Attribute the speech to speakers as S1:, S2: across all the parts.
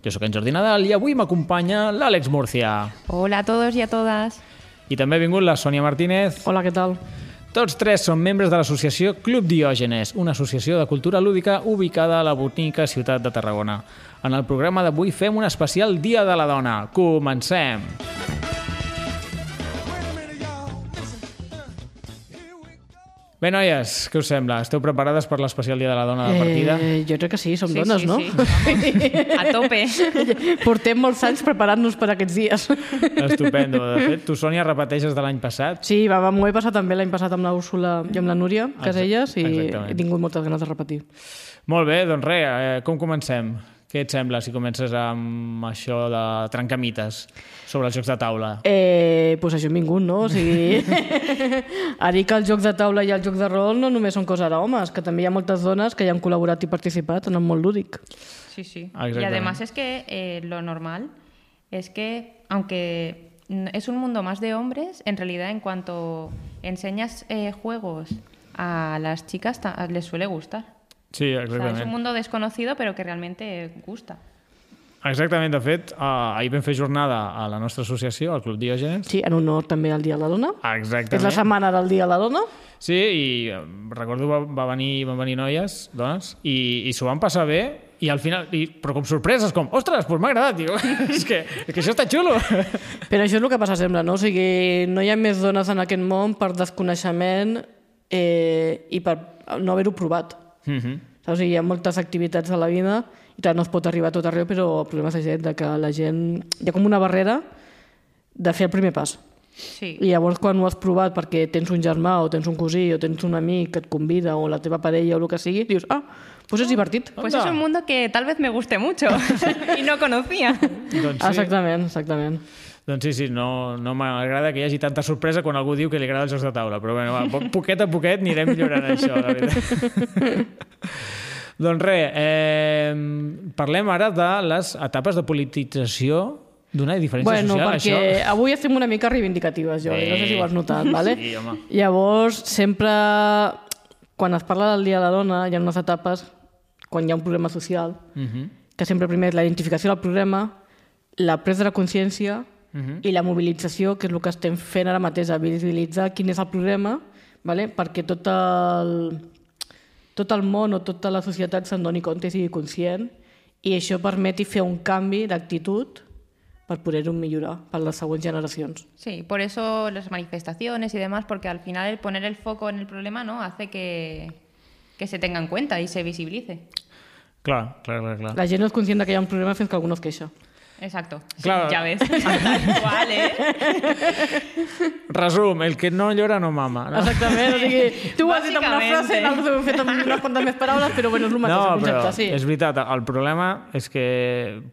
S1: Jo sóc en Jordi Nadal i avui m'acompanya l'Àlex Murcia.
S2: Hola a todos y a todas.
S1: I també ha vingut la Sònia Martínez.
S3: Hola, què tal?
S1: Tots tres són membres de l'associació Club Diògenes, una associació de cultura lúdica ubicada a la bonica ciutat de Tarragona. En el programa d'avui fem un especial Dia de la Dona. Comencem!
S4: Wait a minute, y'all. Listen. Uh, here we go.
S1: Bé, noies, què us sembla? Esteu preparades per l'especial Dia de la Dona de la partida?
S3: Eh, jo crec que sí, som
S2: Sí,
S3: dones,
S2: sí,
S3: no?
S2: sí. A tope.
S3: Portem molts anys preparant-nos per aquests dies.
S1: Estupendo. De fet, tu, Sònia, repeteixes de l'any passat.
S3: Sí, va, va, m'ho he passat també l'any passat amb la Úrsula i amb la Núria Caselles i
S1: exactament.
S3: he tingut moltes ganes de repetir.
S1: Molt bé, doncs res, eh, com comencem? Què et sembla si comences amb això de trencamites sobre els jocs de taula?
S3: Eh, pues això hem vingut, no? O sigui... Ara que els jocs de taula i els jocs de rol no només són cosa d'homes, que també hi ha moltes dones que hi han col·laborat i participat en el món lúdic.
S2: Sí, sí.
S1: Exactamente.
S2: Y además es que eh, lo normal es que, aunque n- es un mundo más de hombres, en realidad en cuanto enseñas eh, juegos a las chicas ta- les suele gustar.
S1: Sí,
S2: O sea, es un
S1: exactament.
S2: mundo desconocido pero que realmente eh, gusta.
S1: Exactament, de fet, eh, ahir vam fer jornada a la nostra associació, al Club Diògenes.
S3: Sí, en honor també al Dia de la Dona. És la
S1: Ah, Exactament.
S3: setmana del Dia de la Dona.
S1: Sí, i eh, recordo va, va venir, van venir noies, dones, i, i s'ho van passar bé, i al final, i, però com sorpreses, com, ostres, doncs m'ha agradat, tio. és, que, és que això està xulo.
S3: Però això és el que passa sempre, no? O sigui, no hi ha més dones en aquest món per desconeixement eh, i per no haver-ho provat.
S1: mm -hmm.
S3: Saps? O sigui, hi ha moltes activitats a la vida i clar, no es pot arribar a tot arreu, però el problema és aquest, de que la gent... Hi ha com una barrera de fer el primer pas.
S2: Sí.
S3: I llavors quan ho has provat perquè tens un germà o tens un cosí o tens un amic que et convida o la teva parella o el que sigui, dius, ah, doncs és divertit.
S2: Pues
S1: Anda.
S2: es un mundo que tal vez me guste mucho y no conocía.
S1: Doncs sí.
S3: Exactament, exactament.
S1: Doncs sí, sí, no, no m'agrada que hi hagi tanta sorpresa quan algú diu que li agrada els jocs de taula, però bueno, va, po- poquet a poquet anirem millorant això, la veritat. doncs res, eh, parlem ara de les etapes de politització d'una diferència
S3: Bueno,
S1: social.
S3: perquè
S1: Això...
S3: avui estem una mica reivindicatives, jo, eh? no sé si ho has notat, vale?
S1: Sí, home.
S3: Llavors, sempre, quan es parla del Dia de la Dona, hi ha unes etapes, quan hi ha un problema social,
S1: Uh -huh.
S3: que sempre primer és la identificació del problema, la presa de consciència
S1: Mhm.
S3: i la mobilització, que és el que estem fent ara mateix, a visibilitzar quin és el problema, vale? perquè tot el, tot el món o tota la societat se'n doni compte i sigui conscient, i això permeti fer un canvi d'actitud per poder-ho millorar per les següents generacions.
S2: Sí, por eso las manifestaciones y demás, porque al final el poner el foco en el problema no hace que, que se tenga en cuenta y se visibilice.
S1: Clar, clar, clar, clar.
S3: La gent no és conscient de que hi ha un problema fins que algú no es queixa.
S2: Exacto. Sí,
S1: Claro.
S2: Ya ves. Tal cual, ¿eh?
S1: Resum, el que no llora no mama. No?
S3: Exactament, o sigui, tu ho has dit amb una
S2: Bàsicament.
S3: frase, nosaltres ho hem fet amb unes quantes més paraules, però bueno, és el mateix,
S1: No,
S3: el
S1: però
S3: concepte, sí.
S1: és veritat, el problema és que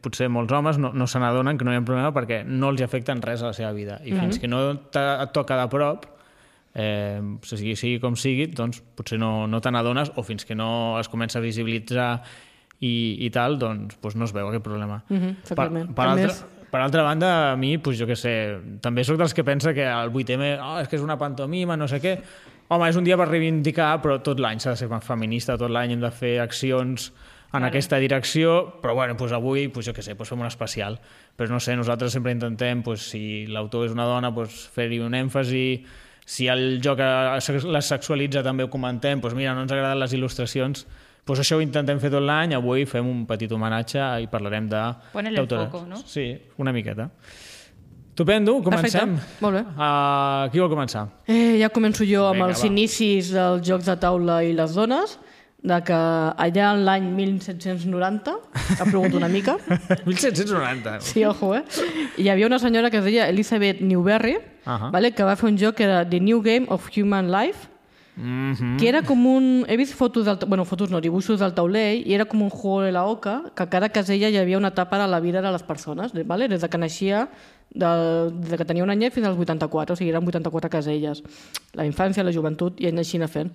S1: potser molts homes no, no se n'adonen que no hi ha problema perquè no els afecten res a la seva vida i
S3: Mhm.
S1: fins que no te- et toca de prop eh, o sigui, sigui com sigui doncs potser no, no te n'adones o fins que no es comença a visibilitzar i, i tal, doncs, doncs no es veu aquest problema.
S3: Mhm,
S1: per,
S3: exactament.
S1: per,
S3: A
S1: altra,
S3: més-
S1: per altra banda, a mi, doncs, jo què sé, també sóc dels que pensa que el 8M oh, és que és una pantomima, no sé què. Home, és un dia per reivindicar, però tot l'any s'ha de ser feminista, tot l'any hem de fer accions en aquesta direcció, però bueno, doncs avui, doncs jo què sé, doncs fem un especial. Però no sé, nosaltres sempre intentem, doncs, si l'autor és una dona, doncs fer-hi un èmfasi, si el joc eh, la sexualitza també ho comentem, doncs mira, no ens agraden les il·lustracions, doncs això ho intentem fer tot l'any, avui fem un petit homenatge i parlarem de...
S2: Ponele el
S1: d'autores.
S2: foco, no?
S1: Sí, una miqueta. Estupendo, comencem.
S3: Perfecte, molt bé.
S1: Uh, qui vol començar?
S3: Eh, ja començo jo amb
S1: Vinga,
S3: els
S1: va.
S3: inicis dels Jocs de Taula i les Dones, de que allà en l'any 1790, ha plogut una mica,
S1: 1790.
S3: sí, ojo, eh? hi havia una senyora que es deia Elizabeth Newberry,
S1: Ahà.
S3: vale, que va fer un joc que era The New Game of Human Life, que era com un... He vist fotos, del, ta- bueno, fotos no, dibuixos del taulell i era com un juego de la oca que a cada casella hi havia una etapa de la vida de les persones, de- vale? des de que naixia, de, des de que tenia un anyet fins als 84, o sigui, eren 84 caselles. La infància, la joventut i anar així anar fent.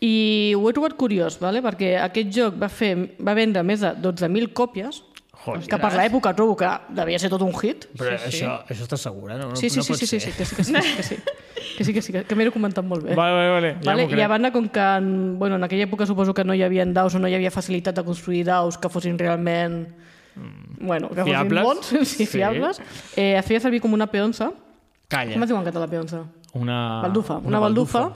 S3: I ho he trobat curiós, vale? perquè aquest joc va, fer, va vendre més de 12.000 còpies,
S1: Joder.
S3: que per l'època trobo que devia ser tot un hit.
S1: Però sí, això, sí. això estàs segura? No, no,
S3: Sí, sí,
S1: no
S3: sí,
S1: pot
S3: sí, sí,
S1: ser.
S3: sí, que sí, que sí, que sí, que sí, que sí, que, que m'he comentat molt bé.
S1: Vale, vale, vale. Ja
S3: Vale,
S1: m'ho
S3: I
S1: crec.
S3: a banda, com que en, bueno, en aquella època suposo que no hi havia daus o no hi havia facilitat de construir daus que fossin realment... Bueno, que
S1: Mm. Fiables.
S3: fossin bons,
S1: Sí.
S3: sí, fiables. Eh, es feia servir com una peonça.
S1: Calla.
S3: Com es diu en català peonça?
S1: Ah, Una...
S3: Baldufa. Una, baldufa.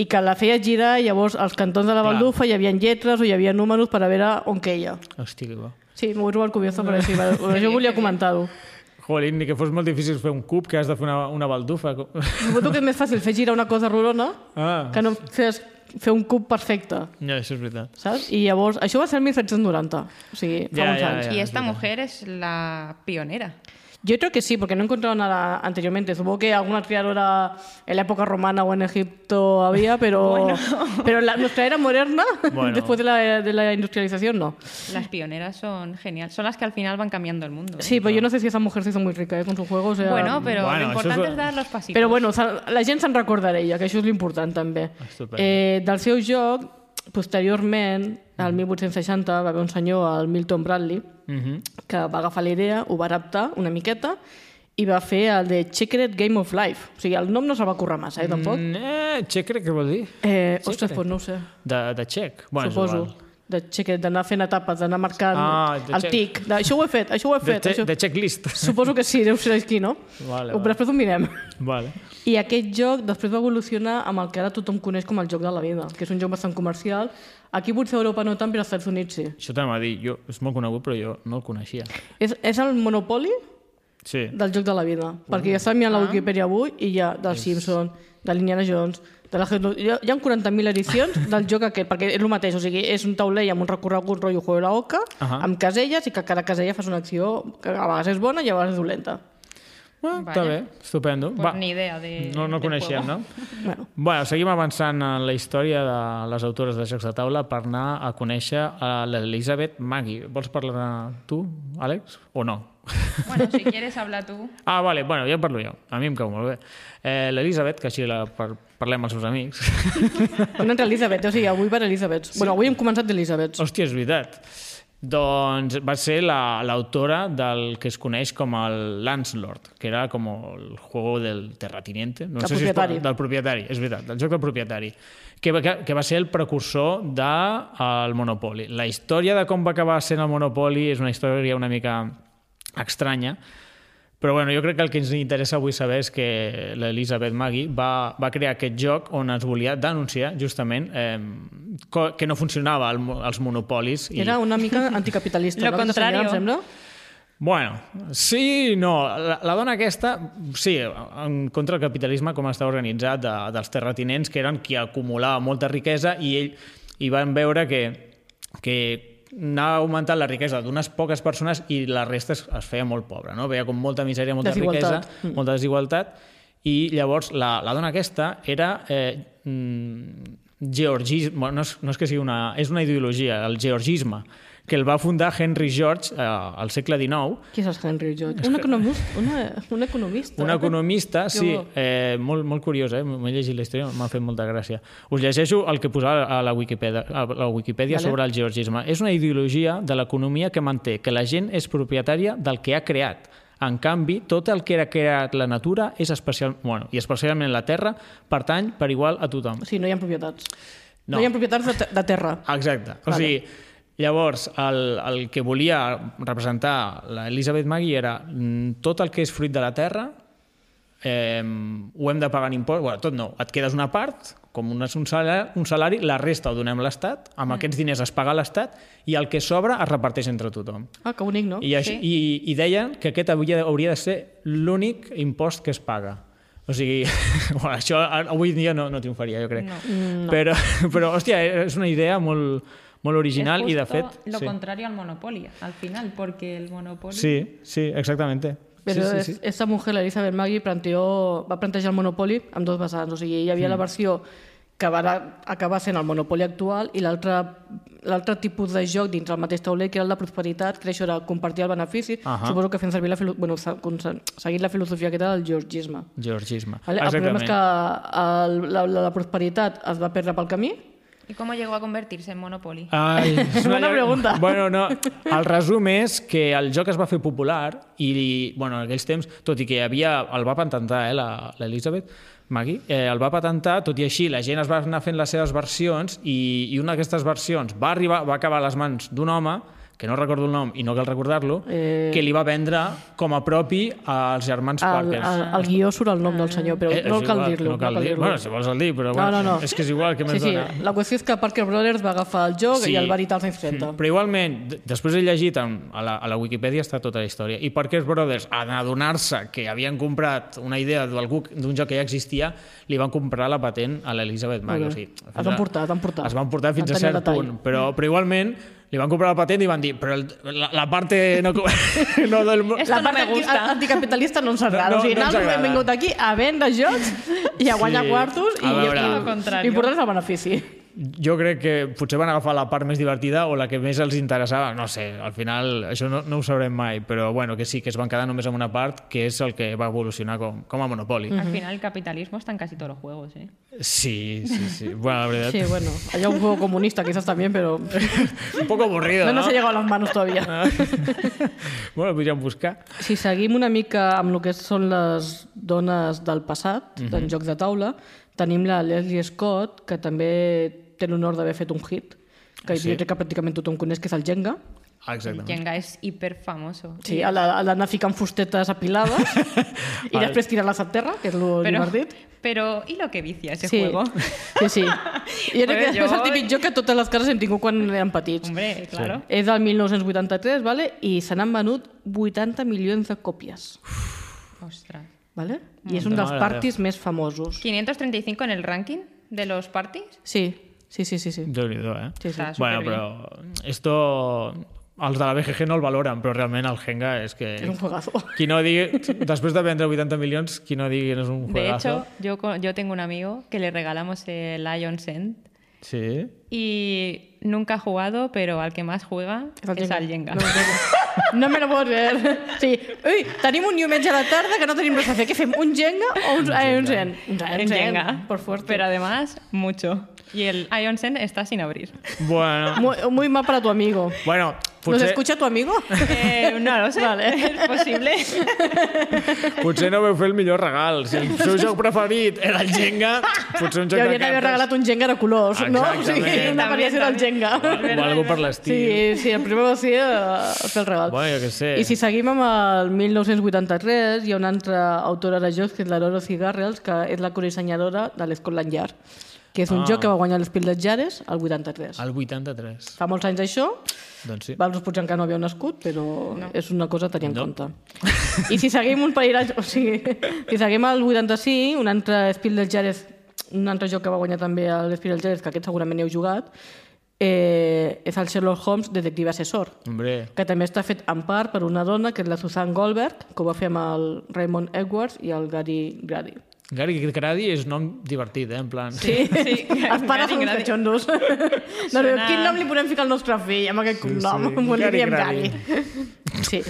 S3: I que la feia girar i llavors als cantons de la
S1: Clar.
S3: baldufa hi havia lletres o hi havia números per a veure on queia.
S1: Hòstia, que bo.
S3: Sí, m'ho he trobat curiosa, però sí, va- jo volia comentar-ho.
S1: Jolín, ni que fos molt difícil fer un cub que has de fer una, una baldufa. Com-
S3: Suposo que és més fàcil fer girar una cosa rodona
S1: Ah.
S3: que no fer, fer un cub perfecte.
S1: No, això és veritat.
S3: saps? I llavors, això va ser el 1790, o sigui, fa
S1: Ja,
S3: uns
S1: ja,
S3: anys.
S1: ja.
S2: Y esta mujer es la pionera.
S3: Yo creo que sí, porque no he encontrado nada anteriormente. Supongo que alguna criadora en la época romana o en Egipto había, pero, pero la, nuestra era moderna,
S1: Bueno.
S3: después de la, de la industrialización, no.
S2: Las pioneras son genial. Son las que al final van cambiando el mundo. ¿eh?
S3: Sí, pero yo no sé si esa mujer se hizo muy rica eh, con su juego. O sea,
S2: Bueno, pero
S1: Bueno,
S2: lo
S1: eso
S2: importante
S1: es-
S2: es, dar los pasitos.
S3: Però bueno, se- la gent se'n recordarà ella, que això és l'important també.
S1: Estupendo.
S3: Eh, del seu joc, posteriorment,
S1: Mhm.
S3: al 1860, va haver un senyor, el Milton Bradley,
S1: Mhm.
S3: que va agafar la idea, ho va adaptar una miqueta, i va fer el de Secret Game of Life. O sigui, el nom no se'l va currar massa, eh, tampoc.
S1: Mm, Eh, txec crec que vol dir.
S3: Eh, ostres, doncs no ho sé,
S1: De, de txec. Bueno, és
S3: suposo.
S1: igual.
S3: De Secret, d'anar fent etapes, d'anar marcant
S1: Ah, de
S3: el
S1: check.
S3: tic. De, això ho he fet, això ho he
S1: De,
S3: fet.
S1: che,
S3: això...
S1: de checklist.
S3: Suposo que sí, deu ser aquí, no?
S1: Vale,
S3: Ho-
S1: vale.
S3: Després ho mirem.
S1: vale.
S3: I aquest joc després va evolucionar amb el que ara tothom coneix com el joc de la vida, que és un joc bastant comercial. Aquí potser a Europa no tant, però als Estats Units sí.
S1: Això també m'ha dit. Jo, és molt conegut, però jo no el coneixia.
S3: És, és el monopoli
S1: Sí.
S3: del joc de la vida, perquè ja està mirant la Wikipedia avui i hi ha del Simpson, de l'Indiana Jones, de la Hello... Hi ha hi ha 40.000 edicions del joc aquest, perquè és el mateix, o sigui, és un taulell amb un recorregut rotllo Juego de la Oca,
S1: Ahà.
S3: amb caselles, i que cada casella fas una acció que a vegades és bona i a vegades és dolenta.
S1: Bueno, Ah, Està
S2: Vale.
S1: bé, estupendo.
S2: Pues ni idea de.
S1: No, no
S2: del
S1: coneixíem,
S2: juego.
S1: no?
S3: Bueno,
S1: Bueno, seguim avançant en la història de les autores de jocs de taula per anar a conèixer a l'Elisabet Magui. Vols parlar tu, Àlex, o no?
S2: Bueno, si quieres, habla tú.
S1: Ah, vale, bueno, ja en parlo jo. A mi em cau molt bé. Eh, L'Elisabet, que així la par parlem als seus amics.
S3: una entre Elizabeth, o sigui, avui per Elizabeth. Sí. Bueno, avui hem començat d'Elizabeth.
S1: Hòstia, és veritat. Doncs va ser la- l'autora la, del que es coneix com el Landslord, que era com el juego del terratiniente. No
S3: Del
S1: sé si es pot-
S3: propietari.
S1: del propietari, és veritat, del joc del propietari, que va, que, que va ser el precursor del de, el Monopoli. La història de com va acabar sent el Monopoli és una història una mica estranya, però bueno, jo crec que el que ens interessa avui saber és que l'Elisabeth Magui va, va crear aquest joc on es volia denunciar justament eh, co- que no funcionava el, mo- els monopolis. I...
S3: Era una mica anticapitalista.
S2: Lo
S3: no? Aquesta senyora,
S2: contrario.
S3: Em sembla?
S1: Bueno, sí i no. La, la dona aquesta, sí, en contra el capitalisme com està organitzat de, dels terratinents, que eren qui acumulava molta riquesa i ell i van veure que, que anava augmentant la riquesa d'unes poques persones i la resta es, es feia molt pobra, no? Veia com molta misèria, molta
S3: Desigualtat.
S1: riquesa, mm. molta desigualtat, i llavors la, la dona aquesta era... Eh, mm, georgisme, bueno, no és, no és que sigui una... És una ideologia, el georgisme, que el va fundar Henry George eh, al segle XIX,
S3: Qui és el Henry George? Un economista. Una, un economista. eh?
S1: Un economista, sí,
S3: bo.
S1: eh, molt, molt curiós, eh? m'he llegit la història, m'ha fet molta gràcia. Us llegeixo el que posava a la Wikipedia, a la Wikipedia
S3: Vale.
S1: vale. sobre el georgisme. És una ideologia de l'economia que manté que la gent és propietària del que ha creat. En canvi, tot el que ha creat la natura és especial, bueno, i especialment la terra pertany per igual a tothom.
S3: O sigui, no hi ha propietats.
S1: No.
S3: No, no hi ha propietats de, te- de terra.
S1: Exacte. O
S3: Vale.
S1: sigui, llavors, el, el que volia representar l'Elisabeth Magui era mm, tot el que és fruit de la terra eh, ho hem de pagar en impost, bueno, tot no, et quedes una part, com un, un, salari, un salari, la resta ho donem a l'Estat, amb mm. aquests diners es paga a l'Estat i el que sobra es reparteix entre tothom.
S3: Ah, que bonic, no?
S1: I, així, sí. i, I deien que aquest hauria, hauria de ser l'únic impost que es paga. O sigui, bueno, això a- avui dia no, no triomfaria, jo crec. No. Però, però, hòstia, és una idea molt, molt original
S2: Es
S1: i, de
S2: justo
S1: fet...
S2: Lo
S1: sí.
S2: contrario al monopolio, al final, porque el monopolio.
S1: sí, sí, exactament.
S3: Però
S1: sí, sí, sí. Mm.
S3: esta mujer, l'Elizabeth Maggie, planteó, va plantejar el monopoli amb dos vessants. O sigui, hi havia la versió acabarà, acabar sent el monopoli actual i l'altre l'altre tipus de joc dintre el mateix tauler, que era el de prosperitat, que això era compartir el benefici,
S1: Ahà.
S3: suposo que fent servir la, filo- bueno, sa- conse- seguint la filosofia aquesta del georgisme.
S1: Georgisme.
S3: Vale? El problema és que el, la, la, la prosperitat es va perdre pel camí,
S2: ¿Y cómo llegó a convertirse en Monopoly?
S1: Ai, és
S3: Bona
S1: llarga-
S3: pregunta.
S1: Bueno, no. El resum és que el joc es va fer popular i, bueno, en aquells temps, tot i que hi havia... El va patentar, eh, la- l'Elisabet Magui, eh, el va patentar, tot i així la gent es va anar fent les seves versions i, i una d'aquestes versions va arribar, va acabar a les mans d'un home que no recordo el nom i no cal recordar-lo, eh... que li va vendre com a propi als germans
S3: el,
S1: Parkers.
S3: el, el guió surt el nom del senyor, però
S1: Eh,
S3: no
S1: és
S3: cal
S1: igual,
S3: dir-lo.
S1: No cal dir
S3: dir-lo.
S1: bueno, si vols el dir, però
S3: no,
S1: bueno,
S3: no, no.
S1: és que és igual, què més
S3: sí, sí.
S1: dona?
S3: La qüestió és que Parker Brothers va agafar el joc
S1: Sí.
S3: i el va editar als anys 30.
S1: Mm, Però igualment, d- després he llegit en- a la, a la Wikipedia està tota la història i Parker Brothers, en adonar-se que havien comprat una idea d'algú- d'un joc que ja existia, li van comprar la patent a l'Elisabeth Maggie.
S3: Molt bé.
S1: O sigui,
S3: Es
S1: fins
S3: van
S1: a-
S3: portar, es van portar.
S1: Es van portar fins
S3: Van
S1: a
S3: tenir
S1: cert
S3: detall.
S1: punt, però, però igualment li van comprar la patent i van dir però el, la, la part no, co- no del... mo-"
S2: Esto no me
S3: anti-
S2: gusta.
S3: anticapitalista no ens agrada.
S1: No,
S3: No, o sigui,
S1: no ens
S3: nosaltres hem
S1: agrada.
S3: vingut aquí a vendre jocs i a guanyar
S1: Sí.
S3: quartos i
S1: A veure.
S3: i-
S1: Tot
S2: el contrari.
S3: L'important és el benefici.
S1: Jo crec que potser van agafar la part més divertida o la que més els interessava, no sé, al final això no, no ho sabrem mai, però bueno, que sí, que es van quedar només amb una part, que és el que va evolucionar com, com a Monopoly.
S3: Mm.
S2: Al final el capitalismo está en casi todos los juegos, ¿eh?
S1: Sí, sí, sí. Bueno, la verdad.
S3: Sí, bueno, allá un juego comunista quizás también, pero
S1: Un poco aburrido,
S3: no
S1: ¿no?
S3: nos ha llegado a las manos todavía.
S1: Bueno, podríem buscar.
S3: Si seguim una mica amb el que són les dones del passat, mm -hmm. en jocs de taula, tenim la Leslie Scott, que també té l'honor d'haver fet un hit, que
S1: Sí.
S3: jo crec que pràcticament tothom coneix, que és el Jenga.
S1: Ah, Exactament.
S2: Jenga es hiper famoso.
S3: Sí, a la- a l'anar ficant fustetes apilades i
S1: Vale.
S3: després tirar-les a terra, que és el
S2: Pero,
S3: divertit.
S2: pero, ¿y lo que vicia ese juego?
S3: Sí, sí. Jo crec
S2: Bueno,
S3: que
S2: jo-
S3: és el típic joc que totes les cases hem tingut quan érem petits.
S2: Hombre, claro.
S3: És del 1983, vale? i se n'han venut 80 milions de còpies.
S2: Ostras.
S3: Vale? I és un dels
S1: Mare
S3: parties més famosos.
S2: 535 en el ranking de los parties.
S3: Sí, sí, sí, sí. sí.
S1: déu nhi eh?
S3: Sí, sí.
S2: Està
S1: Bueno,
S2: superbé.
S1: però... Esto... Els de la BGG no el valoren, però realment el Jenga és que...
S3: És un juegazo.
S1: Qui no digui... Després de vendre 80 milions, qui no digui que no és un
S2: De
S1: juegazo...
S2: hecho, yo, co- yo tengo un amigo que le regalamos el Lion Scent
S1: Sí.
S2: y nunca ha jugado, pero al que más juega es al Jenga.
S3: No, no, no me lo puedo creer. Sí. Ui, tenim un diumenge a la tarda que no tenim res a fer. Què fem? Un Jenga o un, eh, un Zen? Un Zen,
S2: En Jenga,
S3: Por fuerte.
S2: Pero además, mucho. Y el Ion Sen está sin abrir.
S1: Bueno...
S3: Muy, muy mal para tu amigo.
S1: Bueno,
S3: ¿Nos
S1: potser,
S3: escucha tu amigo?
S2: Eh, no lo sé, es posible.
S1: potser no veu fer el millor regal. Si el seu joc preferit era el Jenga, potser un joc
S3: Jo
S1: de
S3: hauria d'haver
S1: cartes...
S3: regalat un Jenga de colors, no? O
S1: Exactament.
S3: sigui, una
S2: També,
S3: variació del
S2: també.
S3: Jenga.
S1: O algo per l'estil.
S3: Sí, sí, el primer va ser eh, fer el regal.
S1: Bueno, jo què sé.
S3: I si seguim amb el 1983, hi ha una altra autora de jocs, que és la Dorothy Garrels, que és la codissenyadora de l'Scotland Yard, que és un
S1: Ah.
S3: joc que va guanyar l'Espil de Jares al 83.
S1: El 83.
S3: Fa molts anys això,
S1: Doncs sí.
S3: Valros potser encara no havia nascut, però no. és una cosa a tenir en no. compte. I si seguim un parell... d'anys- O sigui, si seguim el 85, un altre Spiel del Jerez, un altre joc que va guanyar també el Spiel del Jerez, que aquest segurament hi heu jugat, eh, és el Sherlock Holmes Detective Assessor,
S1: Hombre,
S3: que també està fet en part per una dona, que és la Susan Goldberg, que ho va fer amb el Raymond Edwards i el Gary Grady.
S1: Gary Grady és nom divertit, eh? En plan...
S3: Sí,
S2: sí.
S3: Els pares són
S2: Gary
S3: uns
S2: Grady.
S3: catxondos. No, no,
S2: Sona-
S3: quin nom li podem ficar al nostre fill amb aquest cognom?
S1: sí.
S3: Bon, li
S1: Gary
S3: diem
S1: Grady.
S3: Gary. Sí,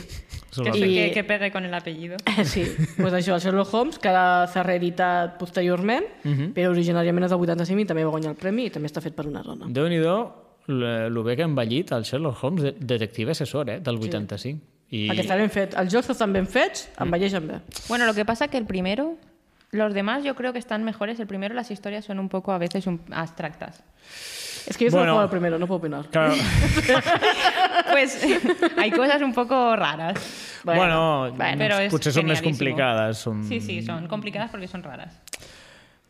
S1: Són
S2: Que,
S1: les-
S3: sí.
S2: que- que pegue con el apellido.
S3: Eh, sí. Pues això, el Sherlock Holmes, que ara s'ha reeditat posteriorment, però originàriament és del 85 i també va guanyar el premi i també està fet per una dona.
S1: Déu-n'hi-do l- lo bé que ha envellit el Sherlock Holmes, de- detective assessor, eh? Del 85.
S3: I...
S1: I...
S3: Perquè està ben fet. Els jocs estan ben fets, envelleixen bé.
S2: Bueno, lo que pasa que el primero, los demás yo creo que están mejores. El primero, las historias son un poco a veces un- abstractas.
S3: És que jo
S1: Bueno.
S3: bueno. sóc el primero, no puc opinar.
S1: Claro.
S2: Pues hay cosas un poco raras.
S1: Bueno,
S2: bueno, però és
S1: potser són més
S2: genialísimo.
S1: complicades.
S3: Mm.
S1: Són...
S2: Sí, sí, son complicadas porque son raras.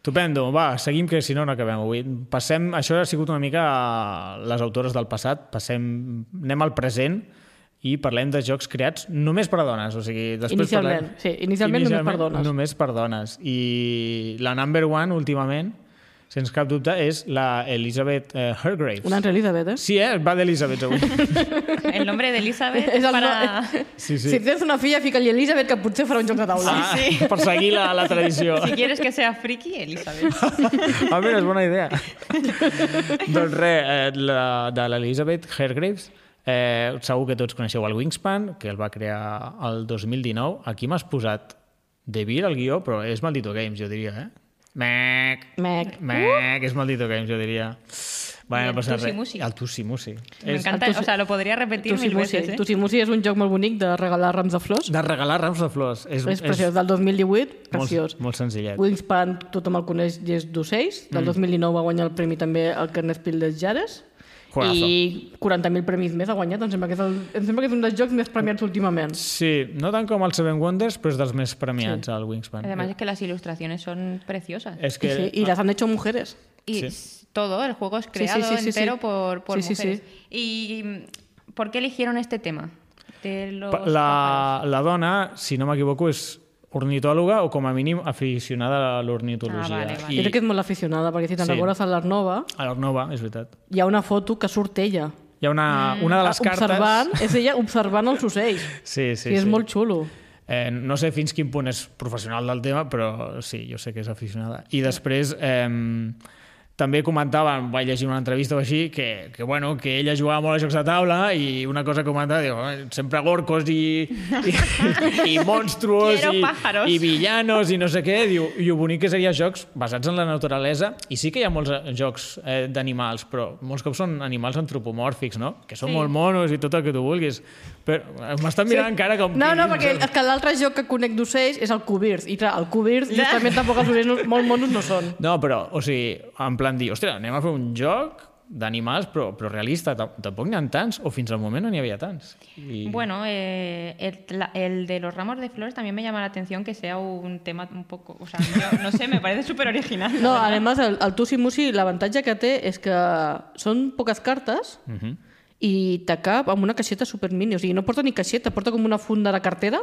S1: Estupendo, va, seguim, que si no, no acabem avui. Passem, això ha sigut una mica a les autores del passat, passem, anem al present i parlem de jocs creats només per a dones. O sigui, després
S3: Inicialment,
S1: parlem...
S3: sí, inicialment només per dones.
S1: Només per dones. I la number one, últimament, sens cap dubte, és la Elizabeth eh, Hargrave.
S3: Una altra Elizabeth, eh?
S1: Sí, eh? Va d'Elizabeth avui.
S2: El nombre de Elizabeth
S3: És el
S2: para...
S1: Sí,
S3: Sí.
S1: sí.
S3: Si tens una filla, fica-li Elizabeth, que potser farà un joc de taula.
S1: Ah, Per seguir la, la tradició.
S2: Si quieres que sea friki, Elizabeth.
S1: Ah, mira, és bona idea. doncs res, eh, la, de l'Elizabeth Hargraves, eh, segur que tots coneixeu el Wingspan, que el va crear el 2019. Aquí m'has posat de vir el guió, però és Maldito Games, jo diria, eh? Mec!
S3: Mec.
S1: Mec, és Maldito Games, jo diria. Bueno,
S2: I el
S1: no passa res.
S2: Tussimussi.
S1: El Tussimussi. És
S2: Me
S3: ah,
S2: encanta, o sea, lo podría repetir mil
S3: Tussimussi.
S2: veces, ¿eh?
S3: Tussimussi és un joc molt bonic de regalar rams de flors.
S1: de regalar rams de flors. Doncs És,
S3: És preciós, del 2018, preciós.
S1: molt, molt senzillet.
S3: Wingspan, tothom el coneix i és d'ocells.
S1: Mm.
S3: Del 2019 va guanyar el premi també el Ernest Pil dels Jares.
S1: Juegazo.
S3: I 40.000 premis més ha guanyat. Em sembla, que és el, em sembla que és un dels jocs més premiats últimament.
S1: Sí, no tant com el Seven Wonders, però és dels més premiats, sí. el Wingspan.
S2: Además es que las ilustraciones son preciosas.
S1: és
S3: Que...
S1: que...
S3: Sí, I les han hecho mujeres.
S2: Y
S1: Sí.
S2: s- todo, el juego es
S3: sí,
S2: creado
S3: sí, sí, sí.
S2: entero por, por
S3: Sí, sí, sí.
S2: mujeres. ¿Y mm, por qué eligieron este tema? De los
S1: Pa- La, la dona, si no m'equivoco, és ornitòloga o com a mínim aficionada a l'ornitologia.
S2: Ah, vale, vale.
S3: I... Jo crec que és molt aficionada, perquè si te'n
S1: Sí.
S3: sí. recordes a l'Arnova,
S1: A l'Arnova, és veritat.
S3: hi ha una foto que surt ella.
S1: Hi ha una, mm, una de les cartes...
S3: Ah, observant, és ella observant els ocells.
S1: Sí,
S3: Sí,
S1: sí,
S3: sí, és
S1: sí.
S3: molt xulo.
S1: Eh, no sé fins quin punt és professional del tema, però sí, jo sé que és aficionada. I després... Eh, també comentaven, vaig llegir una entrevista o així, que, que, bueno, que ella jugava molt a jocs de taula i una cosa que comentava, diu, "Eh, sempre gorcos i, i, i monstruos
S2: Quiero
S1: i,
S2: pájaros."
S1: i villanos i no sé què, diu, i ho bonic que seria jocs basats en la naturaleza, i sí que hi ha molts eh, jocs eh, d'animals, però molts cops són animals antropomòrfics, no? Que són
S2: Sí.
S1: sí. molt monos i tot el que tu vulguis. Però m'estan mirant sí. encara com...
S3: No, no,
S1: que-
S3: perquè és que l'altre joc que conec d'ocells és el Cubirs. I clar, el Cubirs justament tampoc els ocells no- molt monos no són.
S1: No, però, o sigui, en plan dir, ostres, anem a fer un joc d'animals, però, però realista. Tam- Tampoc n'hi ha tants, o fins al moment no n'hi havia tants. I...
S2: Bueno, eh, el, la- el de los ramos de flores también me llama la atención que sea un tema un poco... O sea, yo no sé, me parece súper original.
S3: No, a més, el, el Tussi Mussi, l'avantatge que té és que són poques cartes uh
S1: Mhm.
S3: -huh. i te cap amb una caixeta supermini. O sigui, no porta ni caixeta, porta com una funda de cartera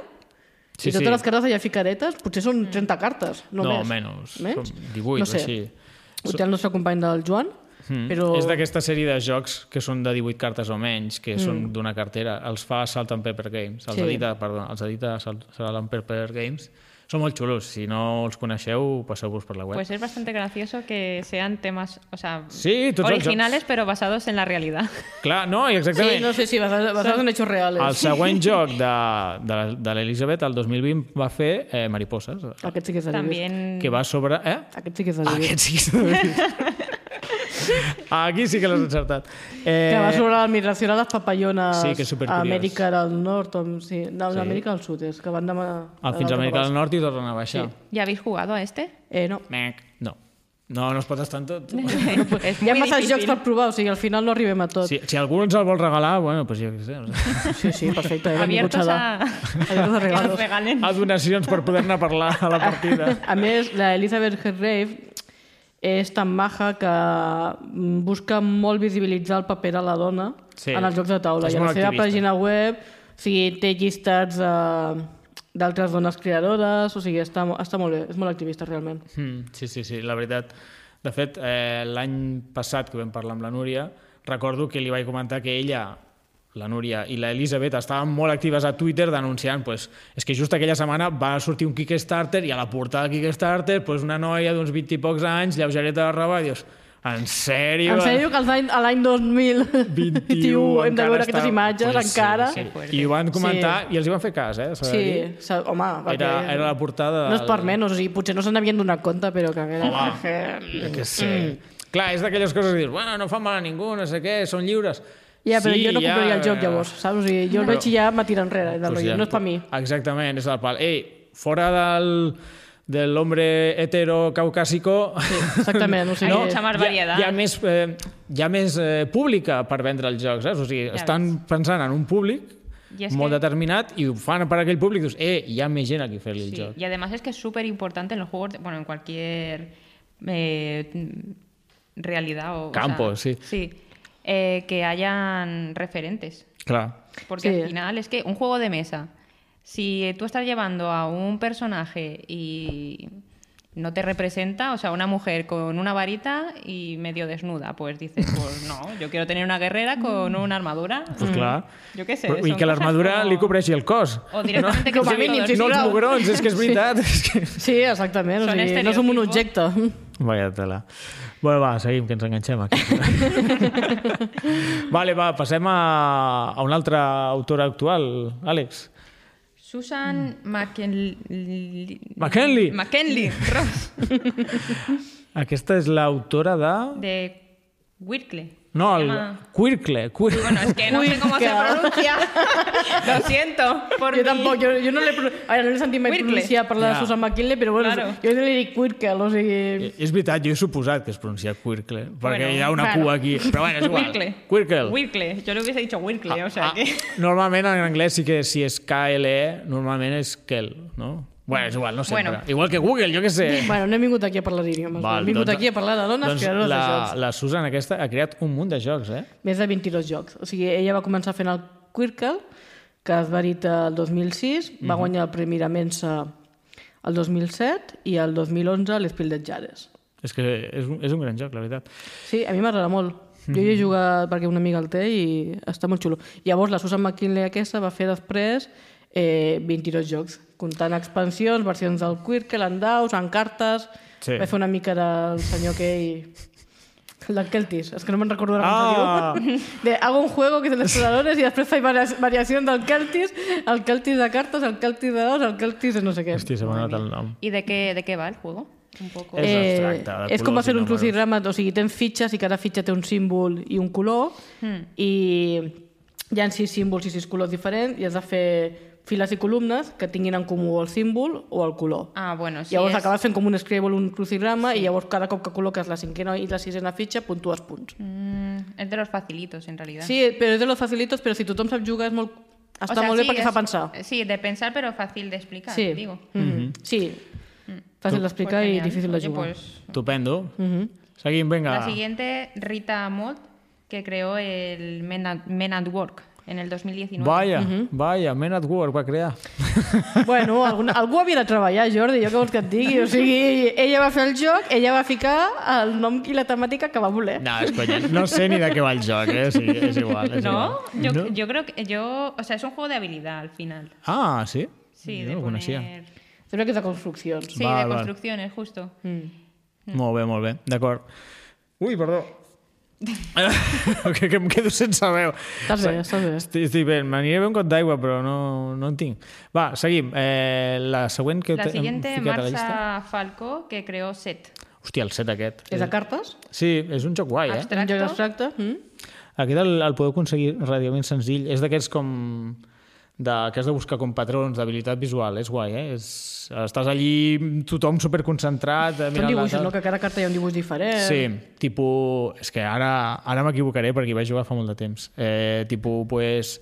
S3: sí, i totes sí. les cartes allà ficaretes, potser són 30 cartes, no,
S1: no,
S3: més.
S1: menys.
S3: Menys?
S1: Com 18
S3: no sé.
S1: o així.
S3: Ho té el nostre company del Joan, mm. però...
S1: Però... És d'aquesta sèrie de jocs que són de 18 cartes o menys, que mm. són d'una cartera. Els fa Salt and Pepper Games. Els
S3: Sí.
S1: sí. edita, perdó, els edita Salt, Salt and Pepper Games. Són molt xulos. Si no els coneixeu, passeu-vos per la web.
S2: Pues es bastante gracioso que sean temas, o sea,
S1: Sí, tots els
S2: originales pero basados en la realidad.
S1: Clar, no, i exactament.
S3: Sí, no sé si sí, basades, basades en hechos reales.
S1: El següent joc de, de, de l'Elisabet, el 2020, va fer eh, Mariposes,
S3: Aquest sí que és de Lewis.
S2: También
S1: que va sobre... Eh?
S3: Aquest sí que és de Lewis.
S1: Aquest sí que s'ha de dir. Ah, Aquí sí que l'has encertat. Eh,
S3: Que va sobre la migració de les papallones
S1: Sí, que és supercuriós.
S3: a Amèrica del Nord, o, sí, no,
S1: Sí.
S3: sí. Amèrica del Sud, és que van demà...
S1: ah, fins a Amèrica del Nord i tornen a baixar.
S3: Sí.
S2: ¿Ya habéis jugado a este?
S3: Eh, no.
S1: Mec. No. No, no es pot estar en tot.
S2: es
S3: Hi ha
S2: muy
S3: massa
S2: difícil.
S3: jocs per provar, o sigui, al final no arribem a tot. Sí,
S1: Si, si algú ens el vol regalar, bueno, pues jo què sé. no sé.
S3: sí, sí perfecte, eh? benvinguts
S2: Abiertos a,
S3: a... Abiertos a
S2: que nos
S3: regalos.
S2: regalen.
S1: A donacions per poder-ne parlar a la partida.
S3: A més, la Elizabeth Hargrave és tan maja que mm, busca molt visibilitzar el paper de la dona
S1: Sí.
S3: sí. en els jocs de taula.
S1: És
S3: I a la
S1: molt
S3: seva
S1: activista.
S3: pàgina web o sigui, té llistats eh, d'altres dones creadores, o sigui, està, mo- està molt bé, és molt activista realment.
S1: Mm, sí, sí, sí, la veritat. De fet, eh, l'any passat que vam parlar amb la Núria, recordo que li vaig comentar que ella, la Núria i l'Elisabet estaven molt actives a Twitter denunciant, pues, és que just aquella setmana va sortir un Kickstarter i a la portada del Kickstarter pues, una noia d'uns 20 i pocs anys, lleugereta de roba, i dius, en sèrio?
S3: En sèrio que als any- a l'any 2021 hem de
S1: encara
S3: veure aquestes
S1: està-
S3: imatges
S1: Pues
S3: encara?
S1: Sí,
S2: Qué fuerte.
S1: sí. I ho van comentar sí. i els hi van fer cas, eh? s'ha de
S3: Sí,
S1: dir.
S3: sí. home, perquè
S1: Era, era la portada...
S3: no és per
S1: del-
S3: menys, o sigui, potser no se n'havien donat compte, però que...
S1: Home, jo què sé.
S3: Mm.
S1: Clar, és d'aquelles coses que dius, bueno, no fa mal a ningú, no sé què, són lliures.
S3: Ja, però
S1: Sí,
S3: sí, jo no
S1: ja,
S3: compraria ja... el joc,
S1: eh,
S3: llavors, saps? O sigui, jo el veig i ja me tiro enrere, del
S1: pues
S3: rotllo, no és per mi.
S1: Exactament, és del pal. Ei, fora del de l'hombre hetero caucàsico
S3: Exactament, o sigui...
S2: Hay mucha más
S1: hi ha,
S2: variedad.
S1: hi ha més, eh, hi ha més eh, pública per vendre els jocs, saps? O sigui, estan pensant en un públic
S2: I és
S1: molt
S2: que-
S1: determinat i ho fan per aquell públic dius, eh, hi ha més gent a qui fer-li el
S2: Sí,
S1: joc.
S2: Y además es que es súper importante en los juegos, de- bueno, en cualquier eh, mm, realidad o... o
S1: Campo,
S2: sea,
S1: sí.
S2: Sí, eh, que hayan referentes.
S1: Clar.
S2: Porque
S3: Sí.
S2: al final es que un juego de mesa, si tú estás llevando a un personaje y, no te representa, o sea, una mujer con una varita y medio desnuda, pues dices, pues no, yo quiero tener una guerrera con una armadura.
S3: Mm.
S1: Pues clar.
S2: Jo què sé,
S1: Però, I
S2: són
S1: que
S2: coses
S1: l'armadura
S2: com-
S1: li cobreixi el cos.
S2: O directamente que
S3: Com a
S2: sean
S3: mínim,
S2: todos,
S3: sí,
S1: No
S2: ¿no?
S1: els
S3: clar.
S1: mugrons, és que és veritat. És que...
S3: Sí, exactament. O
S2: Són
S3: sigui, no som un objecte.
S2: estereotipos.
S1: Vaya tela. Bueno, va, seguim, que ens enganxem aquí. vale, va, passem a, a una altra autora actual, Àlex.
S2: Susan McKinley.
S1: McKinley.
S2: McKinley Ross.
S1: Aquesta és l'autora de...
S2: De Wirkley.
S1: No,
S2: Se
S1: el
S2: llama-
S1: Quirkle. Quir...
S2: Bueno, es que no sé cómo se
S3: Wirkley.
S2: pronuncia. Lo siento. Por
S3: Jo
S2: mí.
S3: tampoc, jo, jo no l'he pro- a veure, no l'he sentit mai
S2: Quirkle.
S3: pronunciar per la
S1: Ja.
S3: Susan McKinley, però bueno,
S2: Claro.
S3: jo li dic Quirkel, o sigui...
S1: És veritat, jo he suposat que es pronuncia Quirkle, perquè
S2: Bueno,
S1: hi ha una
S2: claro.
S1: cua aquí. Però bueno, és igual.
S2: Wirkley.
S1: Quirkle.
S2: Wirkley. Yo le hubiese dicho Wirkley, o sea
S1: Ah,
S2: que.
S1: normalment en anglès sí que si és KLE, normalment és Kel, no? Bueno, és igual, no sempre.
S2: Bueno.
S1: Igual que Google, jo què sé.
S3: Bueno, no hem vingut aquí a parlar d'idiomes,
S1: Val,
S3: hem vingut
S1: Eh. doncs-
S3: aquí a parlar de dones
S1: doncs
S3: creadores
S1: la,
S3: de jocs.
S1: la Susan aquesta ha creat un munt de jocs, eh?
S3: Més de 22 jocs. O sigui, ella va començar fent el Quirkel, que es va editar el 2006, va guanyar el Premi de Mensa el 2007 i el 2011 l'Espil de Jares.
S1: És que és un, és un gran joc, la veritat.
S3: Sí, a mi m'agrada molt. Jo
S1: Mhm.
S3: hi he jugat perquè una amiga el té i està molt xulo. Llavors, la Susan McKinley aquesta va fer després eh, 22 jocs, comptant expansions, versions del Quirkel, en daus, en cartes...
S1: Sí.
S3: Sí. Va fer una mica del senyor que ell... El del Keltis, és que no me'n recordo ara
S1: Ah!
S3: com se diu. De, hago un juego que és de exploradores i després faig varias- variacions del Keltis, el Keltis de cartes, el Keltis de daus, el Keltis de no sé què.
S1: Hòstia, se m'ha donat el nom.
S2: ¿Y de qué, de qué va el juego? Un poco.
S1: Eh, És abstracte, de
S3: és com va
S1: colors
S3: ser
S1: i
S3: un
S1: números.
S3: crucigrama, o sigui, tens fitxes i cada fitxa té un símbol i un color
S2: Hmm.
S3: i hi ha sis símbols i sis colors diferents i has de fer files i columnes que tinguin en comú el símbol o el color.
S2: Ah, bueno, sí.
S3: llavors
S2: es-
S3: acabes fent com un Scrabble, un crucigrama i llavors cada cop que col·loques la cinquena i la sisena fitxa puntues punts.
S2: Mm, es de los facilitos, en realidad.
S3: Sí, però és de los facilitos, però si tothom sap jugar és molt...
S2: O
S3: està
S2: sea,
S3: molt bé
S2: sí,
S3: perquè
S2: es-
S3: fa pensar.
S2: Sí, de pensar, pero fácil de explicar,
S3: sí.
S2: digo. Mm.
S3: Mm
S1: Mhm.
S3: -hmm. sí. Fàcil d'explicar
S2: Pues
S3: i
S2: genial.
S3: difícil de
S2: Oye,
S3: jugar. Mhm.
S2: pues,
S1: Estupendo. Seguim, vinga.
S2: La siguiente, Rita Mott, que creó el Men at, Men at Work en el 2019.
S1: Vaya, vaya, Men at Work va crear.
S3: Bueno, alguna, algú havia de treballar, Jordi, jo què vols que et digui? O sigui, ella va fer el joc, ella va ficar el nom i la temàtica que va voler.
S1: No, és conya. No sé ni de què va el joc, eh? Sí, és igual. És
S2: ¿No?
S1: igual.
S2: Yo, yo creo que yo... O sea, es un juego de habilidad al final.
S1: Ah, sí?
S2: Sí,
S1: jo
S2: de
S1: no ho coneixia.
S2: poner...
S3: Sembla que és de construccions.
S2: Sí,
S1: Vale,
S2: de
S1: vale.
S2: construcciones, justo.
S1: Molt bé, molt bé, d'acord. Ui, perdó. que, que em quedo sense veu.
S3: Estàs bé, estàs bé.
S1: Estic, estic bé, m'aniré bé un cop d'aigua, però no, no en tinc. Va, seguim. Eh, la següent que
S2: La
S1: te- hem
S2: siguiente,
S1: ficat a la llista.
S2: Marsa Falco, que creó Set.
S1: Hòstia, el set aquest.
S3: És de cartes?
S1: Sí, és un joc guai, eh?
S3: Un joc
S2: Abstracto.
S3: abstracte? Mm?
S1: Aquest el, el podeu aconseguir relativament senzill. És d'aquests com... De, que has de buscar com patrons d'habilitat visual. És guai, eh? És, estàs allí tothom superconcentrat. eh,
S3: Són
S1: mirant la
S3: dibuixos,
S1: taula.
S3: no? Que cada carta hi ha un dibuix diferent.
S1: Sí, tipus... És que ara, ara m'equivocaré perquè hi vaig jugar fa molt de temps. Eh, tipus, pues,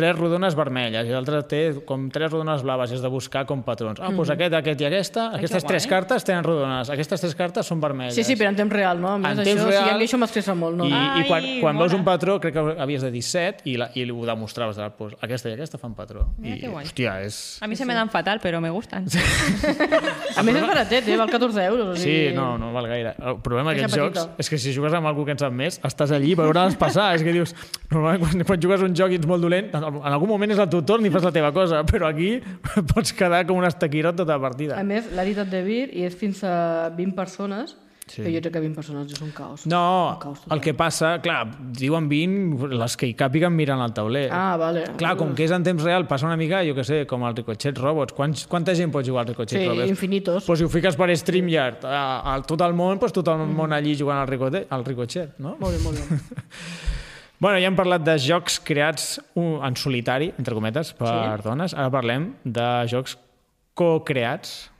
S1: tres rodones vermelles i l'altre té com tres rodones blaves i has de buscar com patrons. Ah, doncs
S2: Mm-hmm.
S1: pues aquest, aquest i aquesta,
S2: Ah,
S1: aquestes tres cartes tenen rodones, aquestes tres cartes són vermelles.
S3: Sí, sí, però en temps real, no? A més,
S1: En
S3: això,
S1: temps
S3: o sigui, a
S1: real.
S3: mi això m'estressa molt, no?
S1: I,
S3: Ah,
S1: i quan,
S2: Ai,
S1: quan veus
S2: mola.
S1: un patró, crec que havies de dir 7 i, la, i ho demostraves. Ara, pues, aquesta i aquesta fan patró.
S2: Mira
S1: I,
S2: que guai.
S1: hòstia, és...
S2: A mí se me dan fatal, pero me gustan.
S3: A més és baratet, eh? Val 14 euros. O sigui...
S1: Sí, no, no val gaire. El problema
S3: Deixa
S1: d'aquests jocs
S3: petita.
S1: és que si jugues amb algú que en sap més, estàs allí per veure-les passar. és que dius, normalment quan, quan jugues un joc i ets molt dolent, en algun moment és el teu torn i fas la teva cosa, però aquí pots quedar com un estaquirot tota la partida.
S3: A més, l'ha dit de Vir i és fins a 20 persones,
S1: Sí.
S3: sí. però jo crec que 20 persones és un caos.
S1: No,
S3: Un caos total.
S1: el que passa, clar, diuen 20, les que hi càpiguen miren al tauler.
S3: Ah, vale.
S1: Clar, com que és en temps real, passa una mica, jo que sé, com el Ricochet Robots. Quants, quanta gent pot jugar al Ricochet
S3: Sí,
S1: Robots?
S3: infinitos.
S1: Pues si ho fiques per StreamYard a, a tot el món, pues tot el món allí jugant al, Ricote, al Ricochet, no?
S3: Molt bé, molt bé.
S1: Bueno, ja hem parlat de jocs creats un- en solitari, entre cometes, per sí. dones. Ara parlem de jocs co-creats.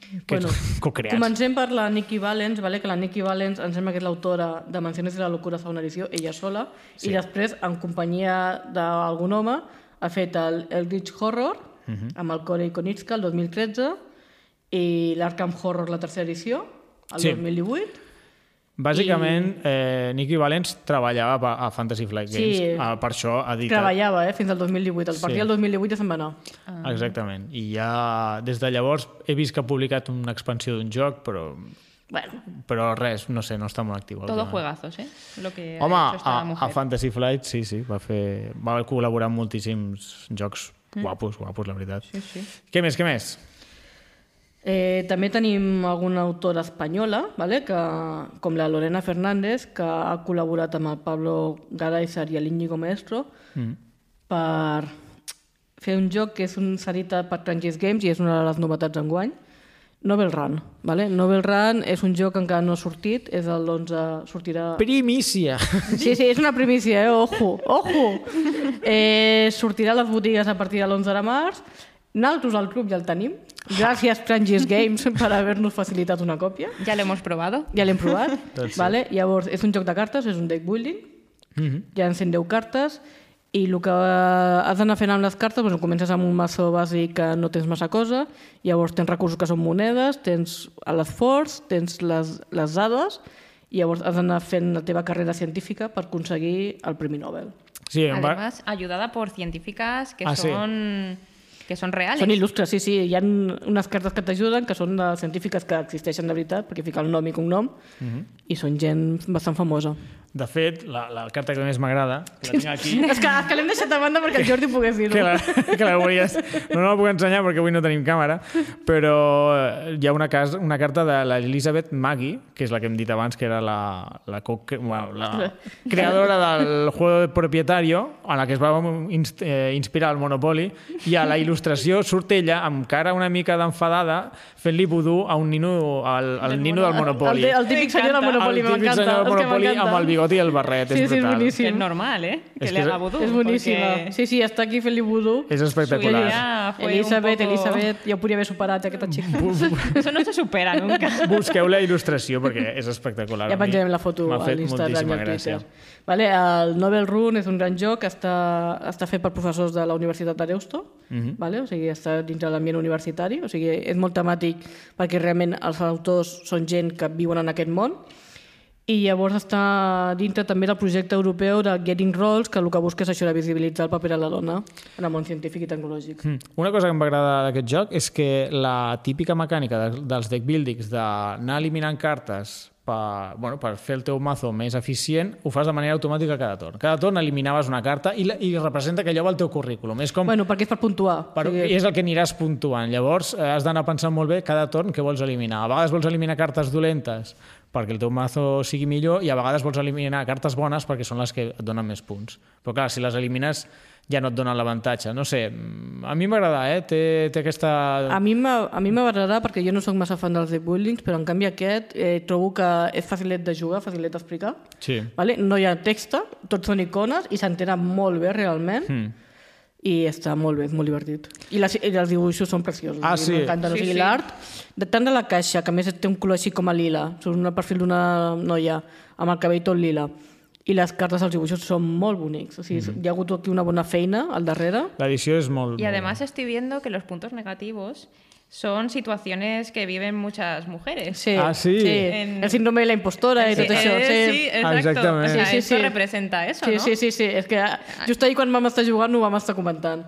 S1: Que-
S3: Bueno,
S1: co-creats.
S3: Comencem per la Nikki Valens, vale? que la Nikki Valens em sembla que és l'autora de Menciones de la locura fa una edició, ella sola, sí. i després, en companyia d'algun home, ha fet el Eldritch Horror, uh
S1: Mhm.
S3: -huh. amb el Corey Konitska, el 2013, i l'Arkham Horror, la tercera edició, el
S1: Sí.
S3: sí. 2018,
S1: Bàsicament, eh, Nicky Valens treballava pa- a Fantasy Flight Games.
S3: Sí.
S1: Ah, per això ha editat.
S3: Treballava, eh? Fins al 2018. A partir
S1: Sí.
S3: del 2018 ja se'n va anar.
S1: Ah. Exactament. I ja des de llavors he vist que ha publicat una expansió d'un joc, però,
S3: Bueno,
S1: però res, no sé, no està molt actiu.
S2: Todo
S1: últimament.
S2: juegazos, ¿eh? Lo que ha
S1: Home,
S2: hecho esta
S1: a, a
S2: mujer.
S1: Fantasy Flight sí, sí, va, fer, va col·laborar en moltíssims jocs guapos, guapos, la veritat. Mm. Sí, sí. Què més, què més?
S3: Eh, també tenim alguna autora espanyola, vale? que, com la Lorena Fernández, que ha col·laborat amb el Pablo Garayzar i l'Iñigo Maestro mm. per fer un joc que és un s'ha editat per Trangis Games i és una de les novetats d'enguany, Novel Run. Vale? Novel Run és un joc que encara no ha sortit, és el 11, sortirà...
S1: Primícia!
S3: Sí, sí, és una primícia, eh? Ojo, ojo. Eh, sortirà a les botigues a partir de l'11 de març. Naltros al club ja el tenim. Gràcies, Frangis Games, per haver-nos facilitat una còpia.
S2: Ya lo hemos probado.
S3: Ja l'hem provat.
S1: Doncs sí.
S3: vale? Llavors, és un joc de cartes, és un deck building. Mm -hmm. Ja en 110 cartes i el que eh, has d'anar fent amb les cartes doncs, comences amb un maçó bàsic que no tens massa cosa, llavors tens recursos que són monedes, tens l'esforç, tens les, les dades, i llavors has d'anar fent la teva carrera científica per aconseguir el Premi Nobel.
S1: Sí, em va...
S2: Además, ayudada por científicas que
S1: Ah, sí.
S2: son que son reales.
S3: Són il·lustres, sí, sí. Hi ha unes cartes que t'ajuden, que són de científiques que existeixen de veritat, perquè fica el nom i cognom, mm -hmm. i són gent bastant famosa.
S1: De fet, la, la carta que més m'agrada, la tinc aquí,
S3: És que, és que l'hem deixat a banda perquè el Jordi pogués dir-ho.
S1: que la, que la veies. No, no la puc ensenyar perquè avui no tenim càmera, però eh, hi ha una, cas, una carta de l'Elisabeth Maggi, que és la que hem dit abans, que era la, la, co que, bueno, la creadora del juego de propietario, en la que es va inst eh, inspirar el Monopoly, i a la il·lustració surt ella amb cara una mica d'enfadada fent-li vudú a un nino, al, al nino del Monopoly.
S3: El, el típic senyor del Monopoli,
S1: El típic
S3: m'encanta.
S1: senyor
S3: és
S1: del
S3: que
S1: Monopoly
S3: m'encanta.
S1: amb el bigoti i el barret,
S3: Sí,
S1: és
S3: sí, és
S1: brutal.
S3: boníssim.
S2: Que es normal, ¿eh? Que
S1: Es
S2: le
S1: que
S2: haga
S1: es-
S2: vudú.
S3: És boníssima.
S2: porque-
S3: Sí, sí, està aquí fent-li vudú. "Ah,
S1: És espectacular.
S2: Ella fue un
S3: Elisabet,
S2: poco-
S3: Elisabet, ja ho podria haver superat, aquesta xica.
S2: Eso no se supera nunca.
S1: Busqueu la il·lustració perquè és espectacular.
S3: Ja
S1: A mi
S3: penjarem la foto
S1: m'ha
S3: a
S1: fet
S3: l'Instagram i
S1: moltíssima
S3: al
S1: gràcia.
S3: Twitter. Vale, el Nobel Run és un gran joc que està, està fet per professors de la Universitat d'Areusto, mm
S1: Mhm.
S3: -hmm. vale? o sigui, està dintre de l'ambient universitari, o sigui, és molt temàtic perquè realment els autors són gent que viuen en aquest món i llavors està dintre també del projecte europeu de Getting Roles, que el que busca és això de visibilitzar el paper de la dona en el món científic i tecnològic.
S1: Mm. Una cosa que em va agradar d'aquest joc és que la típica mecànica de, dels deck buildings d'anar eliminant cartes per, bueno, per fer el teu mazo més eficient, ho fas de manera automàtica cada torn. Cada torn eliminaves una carta i, la, i representa que allò va al teu currículum. És com...
S3: Bueno, perquè és per puntuar.
S1: Però sí. és el que aniràs puntuant. Llavors eh, has d'anar pensant molt bé cada torn què vols eliminar. A vegades vols eliminar cartes dolentes perquè el teu mazo sigui millor i a vegades vols eliminar cartes bones perquè són les que et donen més punts. Però clar, si les elimines ja no et donen l'avantatge. No sé, mm, a mi m'agrada, eh? Té, té aquesta...
S3: A mi m'ha- a mi m'agradarà perquè jo no sóc massa fan dels deck buildings, però en canvi aquest eh, trobo que és facilet de jugar, facilet d'explicar.
S1: Sí.
S3: Vale? No hi ha texta, tots són icones i s'entenen molt bé realment.
S1: Hmm.
S3: Mm. I està molt bé, és molt divertit. I, les, i els dibuixos són preciosos.
S1: Ah,
S3: o
S1: sí?
S3: sigui, M'encanten, o
S2: Sí,
S3: sigui,
S2: sí.
S3: l'art, de tant de la caixa, que a més té un color així com a lila, surt un perfil d'una noia amb el cabell tot lila, i les cartes, els dibuixos són molt bonics. O sigui,
S1: Mm-hmm.
S3: hi ha hagut aquí una bona feina al darrere.
S1: L'edició és molt...
S2: Y
S1: molt-
S2: además estoy viendo que los puntos negativos son situaciones que viven muchas mujeres.
S3: Sí,
S1: Ah, sí?
S3: sí.
S2: En-
S3: El síndrome de la impostora i tot
S2: Eh,
S3: això.
S2: eh, sí, exacto.
S1: Exactament.
S2: O sea,
S3: Sí, sí,
S2: esto
S3: sí.
S2: representa eso,
S3: sí,
S2: ¿no?
S3: sí, sí, sí, és que ah, just ahir quan vam estar jugant ho vam estar comentant.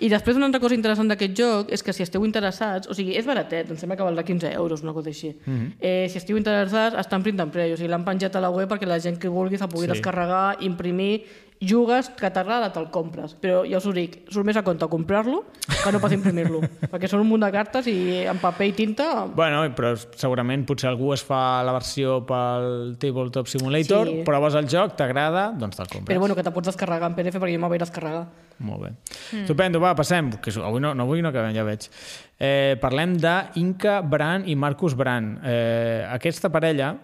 S3: I després una altra cosa interessant d'aquest joc és que si esteu interessats, o sigui, és baratet, em sembla que valdrà 15 euros, una cosa així.
S1: Mhm.
S3: Mm -hmm. eh, si esteu interessats, està en print and play, o sigui, l'han penjat a la web perquè la gent que vulgui se pugui
S1: Sí.
S3: sí. descarregar, imprimir, jugues, que t'agrada, te'l compres. Però ja us ho dic, surt més a compte comprar-lo que no pas imprimir-lo, perquè són un munt de cartes i en paper i tinta...
S1: Bueno, però segurament potser algú es fa la versió pel Tabletop Simulator,
S3: Sí.
S1: proves el joc, t'agrada, doncs te'l compres.
S3: Però bueno, que te pots descarregar en PDF perquè jo m'ho vaig descarregar.
S1: Molt bé. Mm. Estupendo, va, passem, que avui no, no, avui no acabem, ja veig. Eh, parlem de Inca Bran i Marcus Bran. Eh, aquesta parella,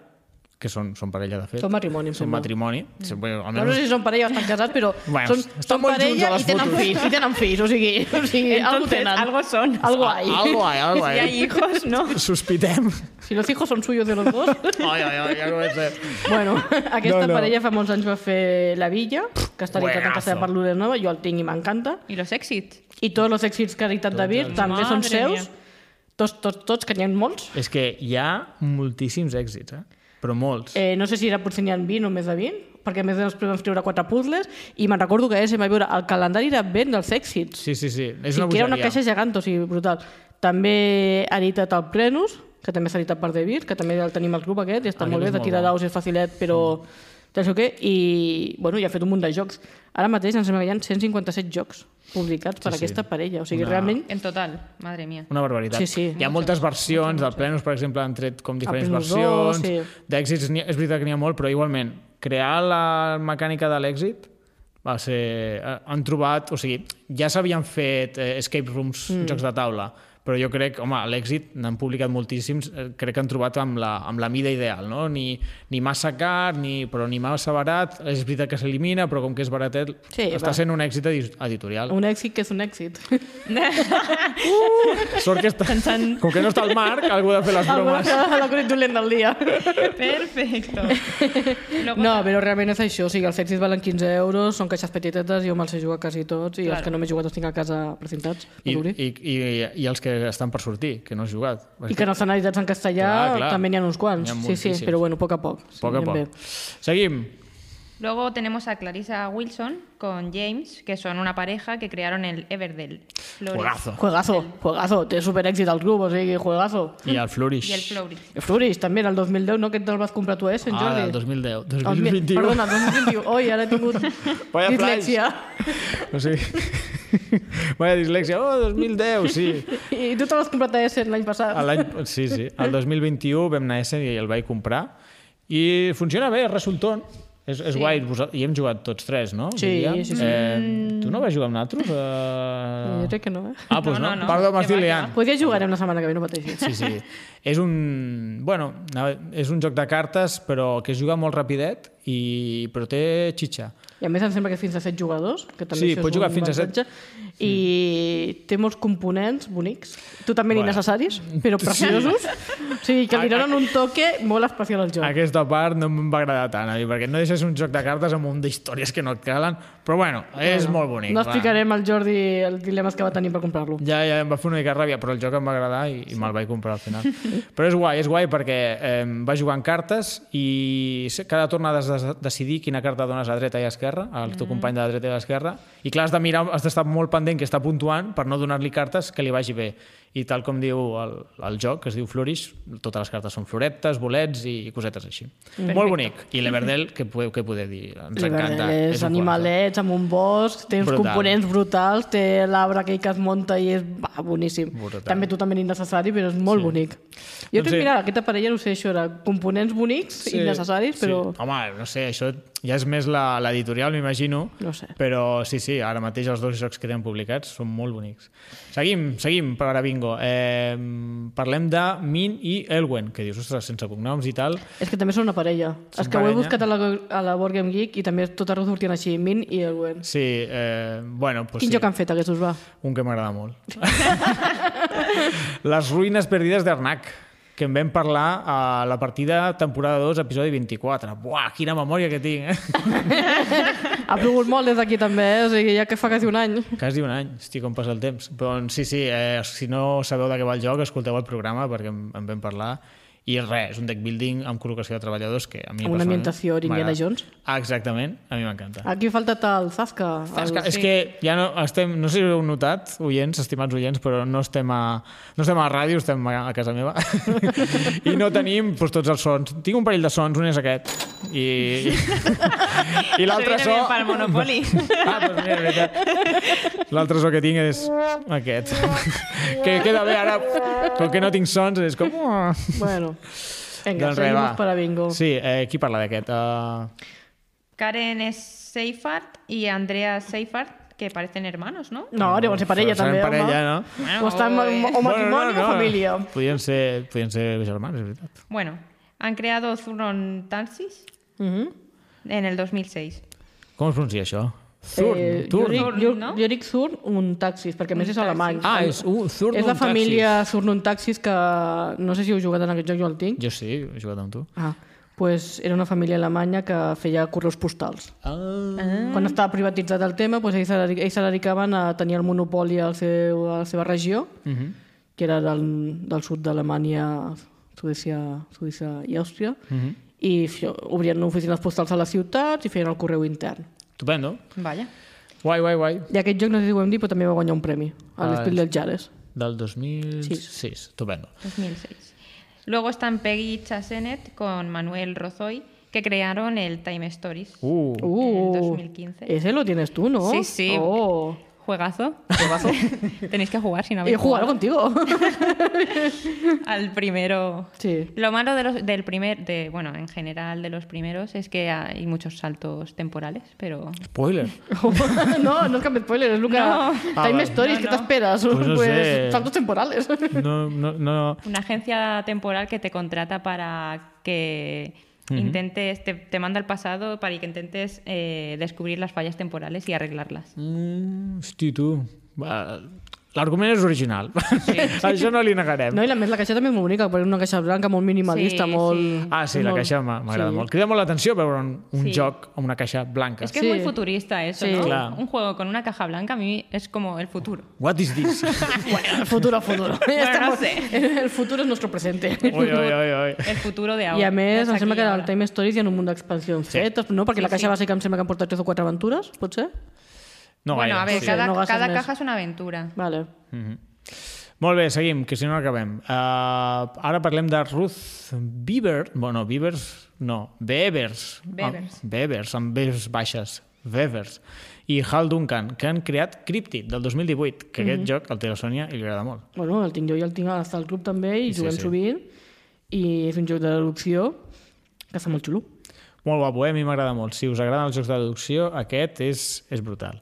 S1: que són, són parella de fet,
S3: Són matrimoni, em
S1: són
S3: sembla. Mm.
S1: matrimoni, sí, bueno,
S3: No, no sé
S1: almenys,
S3: si són parella o estan casats, però
S1: Bueno,
S3: bueno, són,
S1: estan
S3: són
S1: molt junts a
S3: parella
S1: les
S3: i tenen
S1: fotos.
S3: fills, i tenen fills, o sigui, o sigui algo
S2: Entonces,
S3: tenen.
S2: algo son.
S3: Algo hay.
S1: Ah, algo hay, algo
S2: Si hay
S1: hay.
S2: hijos, ¿no?
S1: Sospitem.
S3: Si los hijos son suyos de los dos...
S1: Ai, ai, ai, ja comencem.
S3: bueno, aquesta
S1: No,
S3: no,
S1: no.
S3: no. parella fa molts anys va fer La Villa, que està editat en
S1: Juegazo.
S3: castellà per Lure Nova, jo el tinc i m'encanta,
S2: Y los exits.
S3: i tots els èxits que ha editat David també són
S2: Madre
S3: seus,
S2: mía.
S3: tots, tots, tots, que n'hi ha molts.
S1: És que hi ha moltíssims èxits, eh? però molts.
S3: Eh, no sé si era potser n'hi ha 20 o més de 20, perquè a més després vam treure quatre puzzles i me'n recordo que ese em va veure el calendari era ben dels èxits.
S1: Sí, sí, sí. És
S3: Sí,
S1: una
S3: que era una
S1: bogeria.
S3: caixa gegant, o sigui, brutal. També ha editat el Prenus, que també s'ha editat per David, que també el tenim al grup aquest, i està
S1: Ah, Aquest
S3: molt
S1: és
S3: bé, de
S1: molt
S3: tirar
S1: bo.
S3: daus és facilet, però... Mm. Això què? I, bueno, ja ha fet un munt de jocs. Ara mateix ens sembla que hi ha 157 jocs publicats per
S1: Sí, sí.
S3: aquesta parella. O sigui,
S1: Una-
S3: realment...
S2: En total, madre mía.
S1: Una barbaritat.
S3: Sí, sí.
S1: Hi ha moltes versions del Plenus, per exemple, han tret com diferents
S3: Plenus dos,
S1: versions.
S3: sí.
S1: D'èxits, n'hi ha- és veritat que n'hi ha molt, però igualment, crear la mecànica de l'èxit va ser... eh, Han trobat... O sigui, ja s'havien fet eh, escape rooms, mm. jocs de taula, però jo crec, home, a l'èxit n'han publicat moltíssims, eh, crec que han trobat amb la, amb la mida ideal, no? Ni, ni massa car, ni, però ni massa barat, és veritat que s'elimina, però com que és baratet,
S3: Sí,
S1: està
S3: va.
S1: sent un èxit edi- editorial.
S3: Un èxit que és un èxit.
S1: Sort que està... Com que no està el Marc, algú ha de fer les
S3: Alguna
S1: bromes.
S3: vegada l'ha corret dolent del dia.
S2: Perfecto. Luego
S3: No,
S2: ta-
S3: però realment és això. O sigui, els èxits valen 15 euros, són caixes petitetes, jo me'ls he jugat quasi tots i els
S2: Claro.
S3: que no m'he jugat els tinc a casa precintats.
S1: I,
S3: I, i,
S1: i, i, I els que estan per sortir, que no has jugat.
S3: I que no estan editats en castellà,
S1: Clar,
S3: clar,
S1: clar.
S3: clar. també n'hi ha uns quants.
S1: N'hi ha
S3: sí, sí,
S1: moltíssims.
S3: però bueno, a poc a poc. Sí,
S1: A poc a poc.
S3: anem bé.
S1: Seguim.
S2: Luego tenemos a Clarissa Wilson con James, que son una pareja que crearon el Everdell. Flores.
S1: Juegazo.
S3: Juegazo, juegazo, té super èxit el grup, o sigui, juegazo.
S1: I el Flourish.
S2: Y el Flourish.
S3: Flourish, també, el 2010, no? Aquest te'l vas comprar tu, eh, Sant
S1: Ah,
S3: Jordi?
S1: del 2010.
S3: El mi-
S1: 2021.
S3: Perdona, el 2021. Oi, ara he tingut
S1: Vaya flash.
S3: dislexia.
S1: O sigui... Vaya dislexia. Oh, 2010, sí.
S3: I tu te l'has comprat a Essen l'any passat.
S1: A L'any... Sí, sí. El 2021 vam anar a Essen i el vaig comprar. I funciona bé, és resultón. És, és sí. guai, Vosal- i hem jugat tots tres, no?
S3: Sí,
S1: Diríem.
S3: sí, sí.
S1: Eh, tu no vas jugar amb nosaltres?
S3: Jo
S1: Eh...
S3: crec que no, eh?
S1: Ah, doncs
S2: No,
S1: no.
S2: no, no.
S1: Perdó,
S2: Que va,
S1: Marcilian.
S2: que va.
S3: Podria jugar una setmana que ve, no pateixis.
S1: Sí, sí. És un, bueno, anava- és un joc de cartes, però que es juga molt rapidet, i, però té xitxa.
S3: I a més em sembla que fins a 7 jugadors, que també
S1: Sí,
S3: això és
S1: pots jugar
S3: un
S1: fins a set.
S3: avantatge, I té molts components bonics, totalment
S1: Bueno.
S3: innecessaris, però preciosos. O sigui, que li donen un toque molt especial al joc.
S1: Aquesta part no em va agradar tant, a mi, perquè no deixes un joc de cartes amb un d'històries que no et calen, però bueno, és molt bonic.
S3: No
S1: va.
S3: explicarem al Jordi els dilemes que va tenir per comprar-lo.
S1: Ja, ja em va fer una mica de ràbia, però el joc em va agradar i, i me'l vaig comprar al final. però és guai, és guai perquè eh, va jugant cartes i se- cada torn has de de- decidir quina carta dones a dreta i a esquerra, al teu company de la dreta i a l'esquerra, i clar, has de mirar, has d'estar molt pendent que està puntuant per no donar-li cartes que li vagi bé. I tal com diu el, el joc, que es diu Flourish, totes les cartes són floretes, bolets i, i cosetes així. Molt bonic. I l'Everdell, que podeu, que podeu dir? Ens encanta.
S3: És
S1: un
S3: animalets, amb un bosc, té uns
S1: Brutal.
S3: components brutals, té l'arbre aquell que es munta i és bah, boníssim.
S1: Brutal.
S3: També totalment innecessari, però és molt bonic. Jo
S1: Doncs
S3: crec,
S1: sí.
S3: mira, aquesta parella, no sé, això era components bonics, innecessaris, però...
S1: Sí. Home, no sé, això ja és més la- l'editorial, m'imagino.
S3: No sé.
S1: Però sí, sí, ara mateix els dos jocs que tenen publicats són molt bonics. Seguim, seguim per ara bingo. Eh, parlem de Min i Elwen, que dius, ostres, sense cognoms i tal.
S3: És que també són una parella.
S1: Són
S3: és que ho he
S1: parella.
S3: buscat a la, a la Board Game Geek i també tot arreu sortien així, Min i Elwen.
S1: Sí, eh, bueno, pues
S3: Quin
S1: sí,
S3: joc han fet aquests, us va?
S1: un que m'agrada molt. Les ruïnes perdides d'Arnac que en vam parlar a la partida temporada 2, episodi 24. Buah, quina memòria que tinc, eh?
S3: Ha plogut molt des d'aquí també, eh? o sigui, ja que fa quasi un any.
S1: Quasi un any, hosti, com passa el temps. Doncs sí, sí, eh, si no sabeu de què va el joc, escolteu el programa perquè en, en vam parlar. I res, és un deck building amb col·locació de treballadors que a mi...
S3: Amb
S1: personalment
S3: una ambientació d'Indiana
S1: m'agrada.
S3: Jones.
S1: Exactament, a mi m'encanta.
S2: Ah,
S3: Aquí ha faltat el Zasca. El...
S1: És que, és que ja no estem, no sé si ho heu notat, oients, estimats oients, però no estem a, no estem a la ràdio, estem a, a casa meva. I no tenim doncs, tots els sons. Tinc un parell de sons, un és aquest. I, i, i l'altre so...
S2: Se viene bien para el Monopoly.
S1: Ah, doncs mira, veritat. L'altre so que tinc és aquest. que queda bé ara, com que no tinc sons, és com... "Oh".
S3: Bueno, vinga,
S1: Doncs res,
S3: doncs seguim
S1: va.
S3: per a bingo. Sí.
S1: Sí, eh, qui parla d'aquest? Uh,
S2: Karen Seifert y Andrea Seifert, que parecen hermanos, ¿no?
S3: No, deuen ser parella
S1: Seran
S3: també,
S1: parella,
S3: home.
S1: no?
S3: O estan o o matrimoni o família.
S1: Podien ser, podien ser germans, és veritat.
S2: Bueno, han creado Zuron Tansis
S3: Uh -huh.
S2: en el 2006.
S1: Com es pronuncia això? Zurn,
S3: eh, jo,
S1: Turn.
S3: dic, jo,
S2: no?
S3: jo dic Zurn un taxis, perquè a més és alemany.
S1: Ah, és un Zurn
S3: és la
S1: un taxi.
S3: família Zurn un taxis que no sé si heu jugat en aquest joc, jo el tinc.
S1: Jo sí, he jugat amb tu.
S3: Ah, pues era una família alemanya que feia correus postals.
S1: Ah.
S3: Mm. Quan estava privatitzat el tema, pues, ells se dedic- ells se dedicaven a tenir el monopoli al seu, a la seva regió, mm
S1: Mhm.
S3: -hmm.
S1: Mhm.
S3: que era del, del sud d'Alemanya, Suècia, Suïssa i Àustria, mm -hmm. i això, obrien oficines postals a les ciutats i feien el correu intern.
S1: Estupendo.
S2: Vaja.
S1: Guai, guai, guai.
S3: I aquest joc, no sé si ho hem dit, però també va guanyar un premi, a
S1: Ah,
S3: l'Espil dels Jares.
S1: Del 2006. Estupendo.
S2: 2006. Luego están Peggy Chasenet con Manuel Rozoy, que crearon el Time Stories.
S1: Uh.
S3: Uh,
S2: 2015.
S3: Ese lo tienes tú, ¿no?
S2: Sí, sí.
S3: Oh.
S2: Juegazo. Tenéis que jugar si no
S3: He
S2: habéis
S3: jugado
S2: jugado
S3: contigo.
S2: al primero.
S3: sí.
S2: Lo malo de los- del primer, de, bueno, en general de los primeros es que hay muchos saltos temporales, pero
S1: Spoiler.
S3: no, no es que me spoilers, Luca.
S2: No.
S1: Ah,
S3: Time
S1: vale.
S3: Stories,
S2: No,
S3: ¿qué
S2: no.
S3: te esperas?
S1: Pues no sé.
S3: saltos temporales.
S1: No, no, no.
S2: una agencia temporal que te contrata para que intentes, te, te manda al pasado para que intentes eh, descubrir las fallas temporales y arreglarlas.
S1: Mm, hosti, tu. Va, L'argument és original. Això no li negarem.
S3: no, i la més, la caixa també és molt bonica, perquè és una caixa blanca molt minimalista,
S2: Sí,
S3: molt...
S2: sí.
S1: Ah, sí, la
S3: molt-
S1: caixa m'ha- m'agrada
S3: sí.
S1: molt. Crida molt l'atenció veure un, un
S2: Sí.
S1: joc amb una caixa blanca.
S2: Es que
S3: Sí.
S2: es muy futurista eso,
S3: Sí.
S2: ¿no?
S1: Claro.
S2: Un juego con una caja blanca a mí es como el futuro.
S1: What is this?
S3: El futuro, el futuro.
S2: no
S3: Estamos-
S2: sé.
S3: El futuro és nostre presente.
S1: ui, ui, ui, ui.
S2: El futuro de ahora.
S3: I a més, em
S2: Es
S3: sembla
S2: aquí y
S3: que el
S2: ahora.
S3: Time Stories hi ha un munt d'expansions
S1: Sí.
S3: fetes, no? Perquè
S2: Sí,
S3: la caixa
S2: sí.
S3: bàsica em sembla que han portat tres o quatre aventures, potser?
S1: No
S2: bueno,
S1: gaire.
S2: a ver,
S3: sí.
S2: cada,
S3: No gastes
S2: cada
S3: més.
S2: caja es una aventura.
S3: Vale.
S1: Molt bé, seguim, que si no no acabem. Uh, ara parlem de Ruth Bieber. Bueno, Biebers, no, Bevers.
S2: Bevers.
S1: Ah, Bevers, amb Bs baixes. Bevers. I Hal Duncan, que han creat Cryptid del 2018, que
S2: Mhm.
S1: aquest joc al té la Sònia i li agrada molt.
S3: Bueno, el tinc jo i el tinc hasta al club també, i
S1: Sí,
S3: juguem
S1: sí.
S3: sovint, i és un joc de deducció que està molt xulo.
S1: Molt guapo, eh? a mi m'agrada molt. Si us agraden els jocs de deducció, aquest és, és brutal.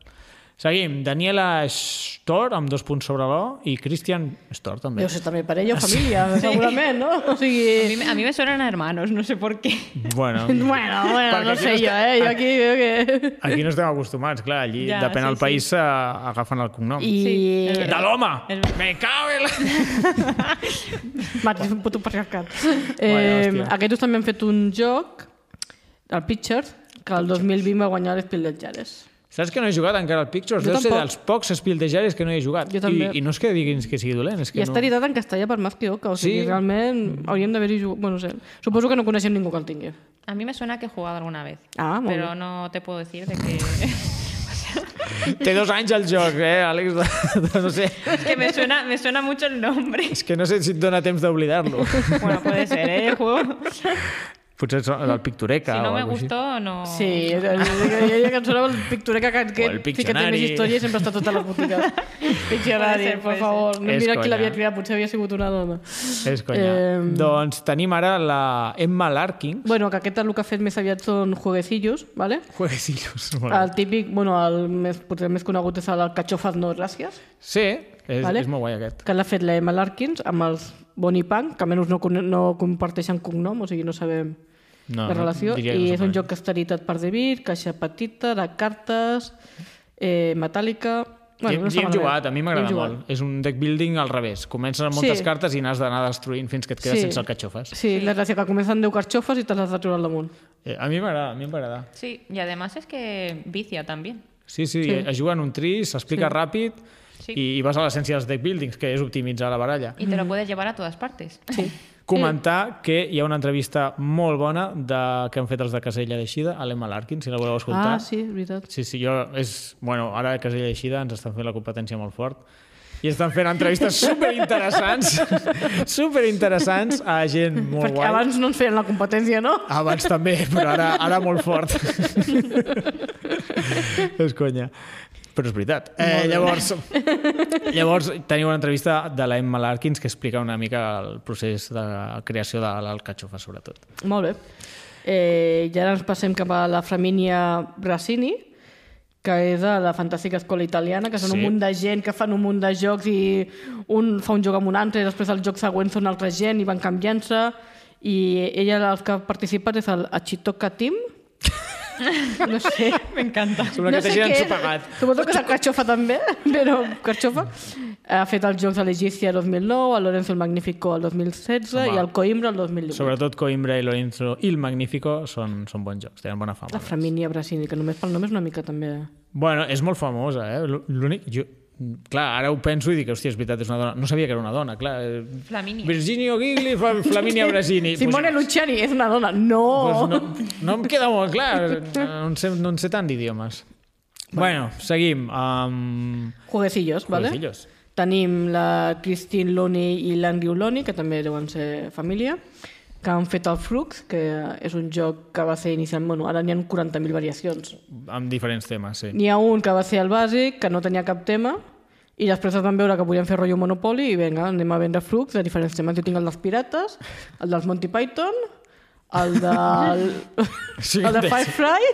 S1: Seguim, Daniela Stor, amb dos punts sobre l'O, i Christian Stor, també.
S3: Deu ser també parella o família, segurament, no? Ah, O sigui...
S2: A mí, me- a mí me suenan a hermanos, no sé por qué.
S1: Bueno,
S3: Bueno, bueno,
S1: Perquè
S3: no
S1: aquí
S3: sé
S1: no
S3: jo, eh? Jo aquí veo que...
S1: aquí no estem acostumats, clar, allí, ja,
S2: Ja,
S1: depèn
S2: sí,
S1: del
S2: sí.
S1: país, sí. agafen el cognom.
S3: I...
S2: Sí, és
S1: De l'home!
S2: És
S1: Me cago en la...
S3: Mati, és un puto patriarcat. Eh,
S1: hòstia.
S3: aquests també han fet un joc, el Pitchers, que el 2020 va guanyar l'Espil dels Jares.
S1: Saps que no he jugat encara al Pictures?
S3: Jo
S1: Deu ser
S3: tampoc.
S1: dels pocs espildejaris que no he jugat.
S3: Jo també.
S1: I, I no és que diguin que sigui dolent, és que
S3: I està
S1: no...
S3: editat en castellà per más que oca, o sigui,
S1: Sí. Mm.
S3: sí. realment hauríem d'haver-hi jugat... Bueno, no sé. Suposo que no coneixem ningú que el tingui.
S2: A mí me suena que he jugado alguna vez.
S3: Ah, molt
S2: pero
S3: bé.
S2: no te puedo decir de que...
S1: Té dos anys el joc, eh, Àlex? De, de, no sé.
S2: es que me suena, me suena mucho el nombre.
S1: És que no sé si et dóna temps d'oblidar-lo.
S2: Bueno, puede ser, ¿eh? El juego.
S1: Potser és el Pictureca
S2: Si no
S1: o
S2: me
S1: alguna cosa així.
S2: gustó, no...
S3: Sí, jo, jo, jo que em sonava el Pictureca que, que,
S1: O el
S3: sí que té
S1: Piccionari.
S3: més història i sempre està tota la botiga.
S2: Puede
S3: Piccionari,
S2: ser,
S3: per
S2: puede
S3: favor. No
S1: És
S3: mira qui
S1: conya.
S3: l'havia cridat, potser havia sigut una dona.
S1: És conya. Eh...
S3: Em.
S1: Doncs tenim ara la Emma Larkin.
S3: Bueno, que aquest el que ha fet més aviat són jueguecillos, ¿vale?
S1: Jueguecillos. Bueno.
S3: El típic, bueno, el més, potser el més conegut és el Cachofas no gràcies,
S1: Sí, és,
S3: Vale.
S1: vale. és molt guai aquest.
S3: que l'ha fet la Emma Larkins amb els Bonnie Punk, que almenys no, con- no comparteixen cognom, o sigui, no sabem
S1: No,
S3: la relació,
S1: diria que
S3: i
S1: no
S3: és un
S1: sé.
S3: joc que està editat per David, caixa petita, de cartes, eh, metàl·lica...
S1: Bueno, hi,
S3: no està
S1: hi hem
S3: malament.
S1: jugat, a mi
S3: Hi hem
S1: m'agrada
S3: jugat.
S1: molt. És un deck building al revés. Comences amb moltes
S3: Sí.
S1: cartes i n'has d'anar destruint fins que et quedes
S3: Sí.
S1: sí. sense el que xofes.
S3: Sí, la gràcia que comencen 10 carxofes i te les has de treure al damunt.
S1: Eh, a mi m'agrada, a mi m'agrada.
S2: Sí, y además es que vicia también.
S1: Sí, sí, sí. es juga en un tri, s'explica sí. ràpid
S2: Sí.
S1: i, i vas a l'essència dels deck buildings, que és optimitzar la baralla.
S2: Y te lo puedes llevar a todas partes.
S3: Sí.
S1: Comentar que hi ha una entrevista molt bona de, que han fet els de Casella d'Eixida, a l'Emma Larkin, si la voleu escoltar.
S3: Ah, sí, és veritat.
S1: Sí, sí, jo és... Bueno, ara que és eixida ens estan fent la competència molt fort i estan fent entrevistes superinteressants superinteressants a gent molt
S3: Perquè
S1: guai.
S3: abans no ens feien la competència, no?
S1: Abans també, però ara, ara molt fort. és conya. Però és veritat. Eh, llavors, llavors, teniu una entrevista de la Emma Larkins que explica una mica el procés de creació de l'alcatxofa, sobretot.
S3: Molt bé. Eh, I ara ens passem cap a la Flaminia Brassini, que és de la fantàstica escola italiana, que són
S1: Sí.
S3: un munt de gent que fan un munt de jocs i un fa un joc amb un altre i després el joc següent són altra gent i van canviant-se i ella els que participa és el Achitoka Team no sé
S2: Me encanta.
S1: Sembla que t'hagin
S3: és.
S1: ensopegat.
S3: Suposo que és el Carxofa també, però Carxofa ha fet els jocs a l'Egícia el 2009, a Lorenzo el Magnífico el 2016
S1: Home.
S3: i al Coimbra el 2018.
S1: Sobretot Coimbra i Lorenzo i el Magnífico són, són bons jocs, tenen bona fama.
S3: La Framínia Brasini, que només pel nom és una mica també...
S1: Bueno, és molt famosa, eh? L'únic... Jo... Clar, ara ho penso i dic, hòstia, és veritat, és una dona. No sabia que era una dona, clar. eh,
S2: Flamínia.
S1: Virginia Gigli, Fla- Flaminia Brasini.
S3: Simone Luciani és una dona. No!
S1: Pues no, no em queda molt clar. No en sé, no en sé tant d'idiomes. Bueno, seguim. Um,
S3: Jueguecillos, vale?
S1: Jueguecillos.
S3: Tenim la Christine Loney i l'Andrew Loney, que també deuen ser família, que han fet el Flux, que és un joc que va ser inicialment... Bueno, ara n'hi ha 40.000 variacions.
S1: amb diferents temes, sí.
S3: N'hi ha un que va ser el bàsic, que no tenia cap tema, i després es van veure que volien fer rotllo Monopoly i vinga, anem a vendre flux de diferents temes. Jo tinc el dels pirates, el dels Monty Python, el del...
S1: Sí,
S3: el de
S1: sí.
S3: Firefly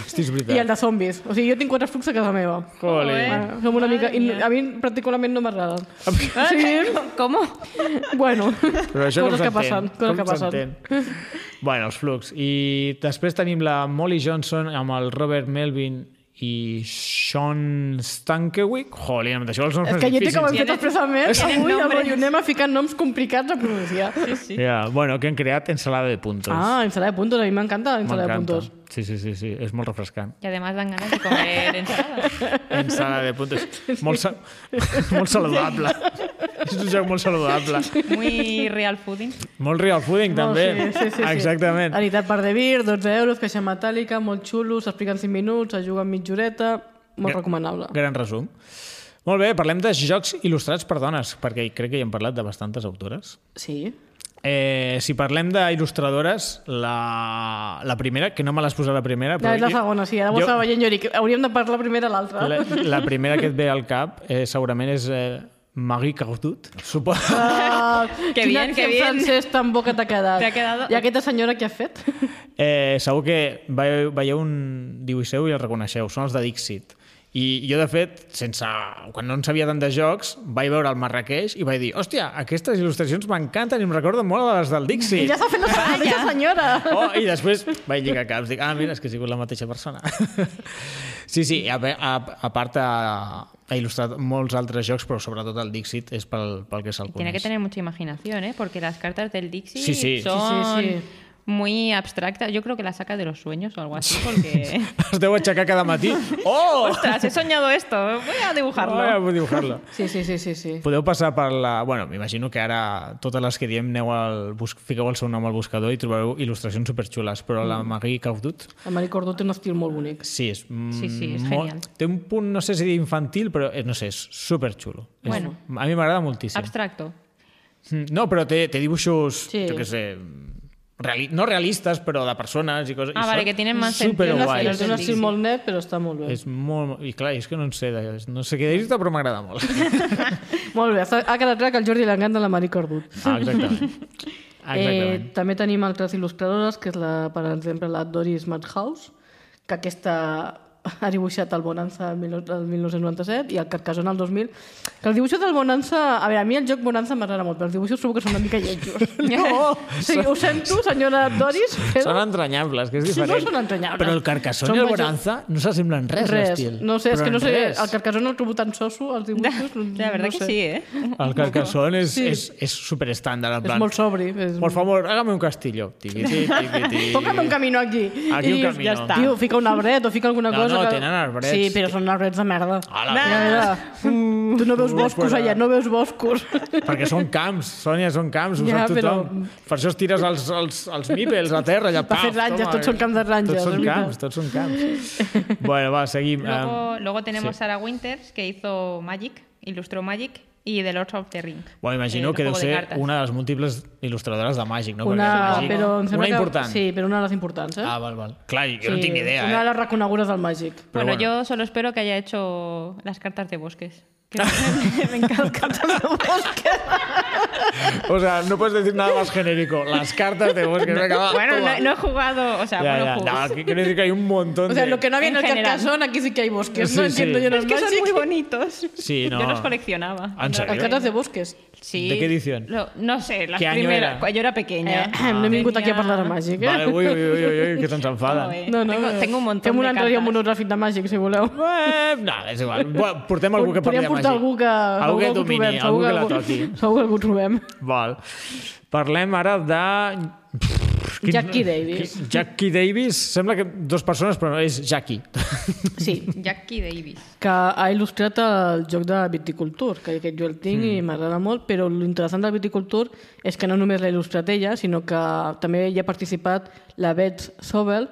S1: Hosti, és
S3: i el
S1: veritat.
S3: de zombies. O sigui, jo tinc quatre flux a casa meva.
S1: Cole.
S3: Bueno, som una mica... I no- a mi particularment no m'agrada. Sí,
S2: Com?
S3: bueno.
S1: Però això
S3: coses
S1: com
S3: que passen. Coses que passen.
S1: Bueno, els flux. I després tenim la Molly Johnson amb el Robert Melvin i Sean Stankiewicz. Jolín, amb això els noms
S3: És
S1: més
S3: que jo tinc
S1: difícils.
S3: que ho hem fet
S2: Tienen-
S3: expressament.
S2: tienen
S3: Avui el
S2: nombres.
S3: rotllo anem a ficar noms complicats a pronunciar. Sí, sí.
S1: Ja, bueno, que han creat ensalada de puntos.
S3: Ah, ensalada de puntos. A mi m'encanta l'ensalada de
S1: M'encanta.
S3: puntos.
S1: Sí, sí, sí, sí, és molt refrescant.
S2: I además dan ganas de comer ensalada.
S1: Ensalada de puntos. Molt, sa molt saludable. És un joc molt saludable.
S2: Muy real fooding.
S1: Molt real fooding, també.
S3: No, sí, sí, sí, sí.
S1: Exactament.
S3: Anitat per de vir, 12 euros, caixa metàl·lica, molt xulo, s'explica en 5 minuts, es juga en mitjoreta, molt
S1: Gra-
S3: recomanable.
S1: Gran resum. Molt bé, parlem de jocs il·lustrats per dones, perquè crec que hi hem parlat de bastantes autores.
S3: Sí.
S1: Eh, si parlem d'il·lustradores, la, la primera, que no me l'has posat la primera...
S3: No,
S1: Però
S3: és la
S1: jo-
S3: segona, sí, ara ho
S1: jo-
S3: estava veient jo, dic, hauríem de parlar primer de l'altra.
S1: La, la primera que et ve al cap eh, segurament és eh, Marie Cardut, suposo.
S3: Ah,
S2: Que
S3: quin
S2: bien,
S3: accent
S2: que bien.
S3: francès tan bo que t'ha quedat.
S2: Te ha quedado-
S3: I aquesta senyora què ha fet?
S1: Eh, segur que veieu, veieu un dibuixeu i el reconeixeu, són els de Dixit. I jo, de fet, sense... quan no en sabia tant de jocs, vaig veure el Marrakeix i vaig dir, hòstia, aquestes il·lustracions m'encanten i em recorden molt a les del Dixit.
S3: I ja s'ha fet la mateixa senyora.
S1: Oh, I després vaig lligar caps. Dic, ah, mira, és que he sigut la mateixa persona. Sí, sí, a, ve- a, a part ha, ha il·lustrat molts altres jocs, però sobretot el Dixit és pel, pel que se'l
S2: Tiene que
S1: coneix.
S2: tener mucha imaginación, ¿eh? Porque las cartas del Dixie
S1: Pues. Sí, sí.
S2: son
S3: Sí, sí, sí.
S2: muy abstractas. Yo creo que las saca de los sueños o algo así, porque...
S1: Es deu aixecar cada matí. Oh!
S2: ¡Ostras, he soñado esto! Voy a
S1: Ara
S2: dibujarlo.
S1: vull dibujar-lo.
S3: Sí, sí, sí, sí, sí.
S1: Podeu passar per la... Bueno, m'imagino que ara totes les que diem aneu al... Bus... Fiqueu el seu nom al buscador i trobareu il·lustracions superxules, però
S2: Mm.
S1: la Marie Caudut
S3: El Marie Cordó té un estil molt bonic.
S1: sí, és...
S2: Sí, sí, és
S1: molt-
S2: genial.
S1: Té un punt, no sé si dir infantil, però eh, no sé, és superxulo. És-
S2: Bueno.
S1: A mi m'agrada moltíssim.
S2: Abstracto.
S1: Mm, No, però té, té dibuixos, sí.
S3: Sí.
S1: jo què sé, reali no realistes, però de persones i coses.
S2: Ah,
S1: i
S2: vale,
S1: són
S2: que tenen más
S3: Té un
S2: Guai,
S3: estil,
S1: superguais.
S3: té un estil
S2: sí.
S3: molt net, però està molt bé.
S1: És molt... I clar, és que no en sé, de- no sé què dir-te, però m'agrada molt.
S3: Molt bé, està- ha quedat clar que al Jordi l'encanta la Marie Cordó.
S1: Ah, exactament. Exactament.
S3: Eh, també tenim altres il·lustradores, que és, la, per exemple, la Doris Madhouse, que aquesta ha dibuixat el Bonanza el mil- el 1997 i el Carcassonne el 2000. Que els dibuixos del Bonanza... A veure, a mi el joc Bonanza m'agrada molt, però els dibuixos trobo que són una mica lletjos.
S1: No!
S3: O sigui, ho sento, senyora Doris,
S1: Són
S3: però...
S1: entranyables, que és
S3: Sí,
S1: diferent.
S3: no són entranyables.
S1: Però el Carcassonne
S3: Són
S1: i el
S3: major-
S1: Bonanza no s'assemblen res,
S3: Res,
S1: l'estil.
S3: no sé, és
S1: Però
S3: que no
S1: en
S3: sé,
S1: res.
S3: el Carcassonne el trobo tan soso, els dibuixos, no,
S2: La verdad
S3: Mm, no
S2: que
S3: sé.
S2: sí, ¿eh?
S1: El Carcassonne és,
S3: Sí.
S1: és, és superestàndard, en
S3: És
S1: plan...
S3: molt sobri. És...
S1: Por favor, hágame un castillo. Tiqui, tiqui, tiqui.
S3: Póngame un camino aquí.
S1: Aquí un
S3: I
S1: camino.
S3: Ja està. Tio, fica un arbret o fica alguna
S1: No,
S3: cosa.
S1: no,
S3: que-
S1: tenen arbrets.
S3: Sí, però són arbrets de merda.
S1: A la
S3: Ja, ja. Tu no veus
S1: Uh,
S3: boscos
S1: fuera.
S3: allà, no veus boscos.
S1: Perquè són camps, Sònia, són camps, ho
S3: Ja,
S1: ja, sap tothom. Però...
S3: però-
S1: Per això es tires els, els, els mípels a terra, allà,
S3: Per fer ranges, tots són camps de ranges,
S1: Tots són
S3: és veritat.
S1: camps, tots són camps. bueno, va, seguim.
S2: Luego,
S1: Um,
S2: luego tenemos
S1: sí.
S2: a Sarah Winters, que hizo Magic, ilustró Magic, y The Lords of the Ring.
S1: Bueno, imagino
S2: el
S1: que deu
S2: eh, juego de
S1: ser
S2: cartas.
S1: una de les múltiples il·lustradores de Màgic, no?
S3: Una,
S1: Perquè Màgic-
S3: però em sembla
S1: una
S3: que...
S1: important.
S3: Sí, però una de les importants, eh?
S1: Ah, val, val. Clar, jo no
S3: Sí,
S1: tinc ni idea,
S3: Una de
S1: eh?
S3: les reconegudes del Màgic.
S1: Però
S2: bueno,
S1: bueno.
S2: yo solo espero que haya hecho las cartas de bosques. Que me
S1: O sea, no puedes decir nada más genérico. Las cartas de bosque. Venga, va,
S2: Bueno,
S1: toma.
S2: no, no he jugado, o sea,
S1: ya,
S2: bueno,
S1: ya.
S2: jugué.
S1: No, que- quiero decir que hay un montón
S3: O sea,
S1: de...
S3: lo que no había en el
S2: En general.
S3: Carcassonne, aquí sí que hay bosques.
S1: Sí, sí.
S3: no entiendo yo en el
S2: es que son
S3: Màgic.
S2: muy bonitos.
S1: Sí, no.
S2: Yo los coleccionaba.
S1: Ah, ¿en serio?
S3: Cartes de bosques.
S2: Sí.
S1: ¿De qué edición?
S2: Lo- no sé, las
S1: ¿Qué año
S2: primeras.
S1: era?
S2: cuando Yo era pequeña.
S3: Eh, no he vingut aquí a parlar de Màgic, eh?
S1: Ah. Vale, uy, uy, uy, uy, uy, que se'ns
S2: No,
S1: enfaden.
S2: eh.
S3: No, no,
S2: tengo, tengo un montón
S3: Fem un
S2: de
S3: altre dia
S2: cartas.
S3: un monogràfic de Màgic, si voleu.
S1: Eh, no, és igual. Bueno, portem algú que parli
S3: Podríem
S1: de
S3: portar
S1: màgic.
S3: algú que...
S1: Algú que
S3: algú
S1: domini,
S3: trobem,
S1: algú
S3: segur
S1: que la
S3: algú-
S1: toqui.
S3: Segur que algú trobem.
S1: Val. Parlem ara de... Quin-
S3: Jackie Davis.
S1: Qui- Jackie Davis, sembla que dos persones, però no, és Jackie.
S3: Sí,
S2: Jackie Davis.
S3: que ha il·lustrat el joc de viticultur, que aquest jo el tinc mm. i m'agrada molt, però l'interessant del viticultur és que no només l'ha il·lustrat ella, sinó que també hi ha participat la Beth Sobel,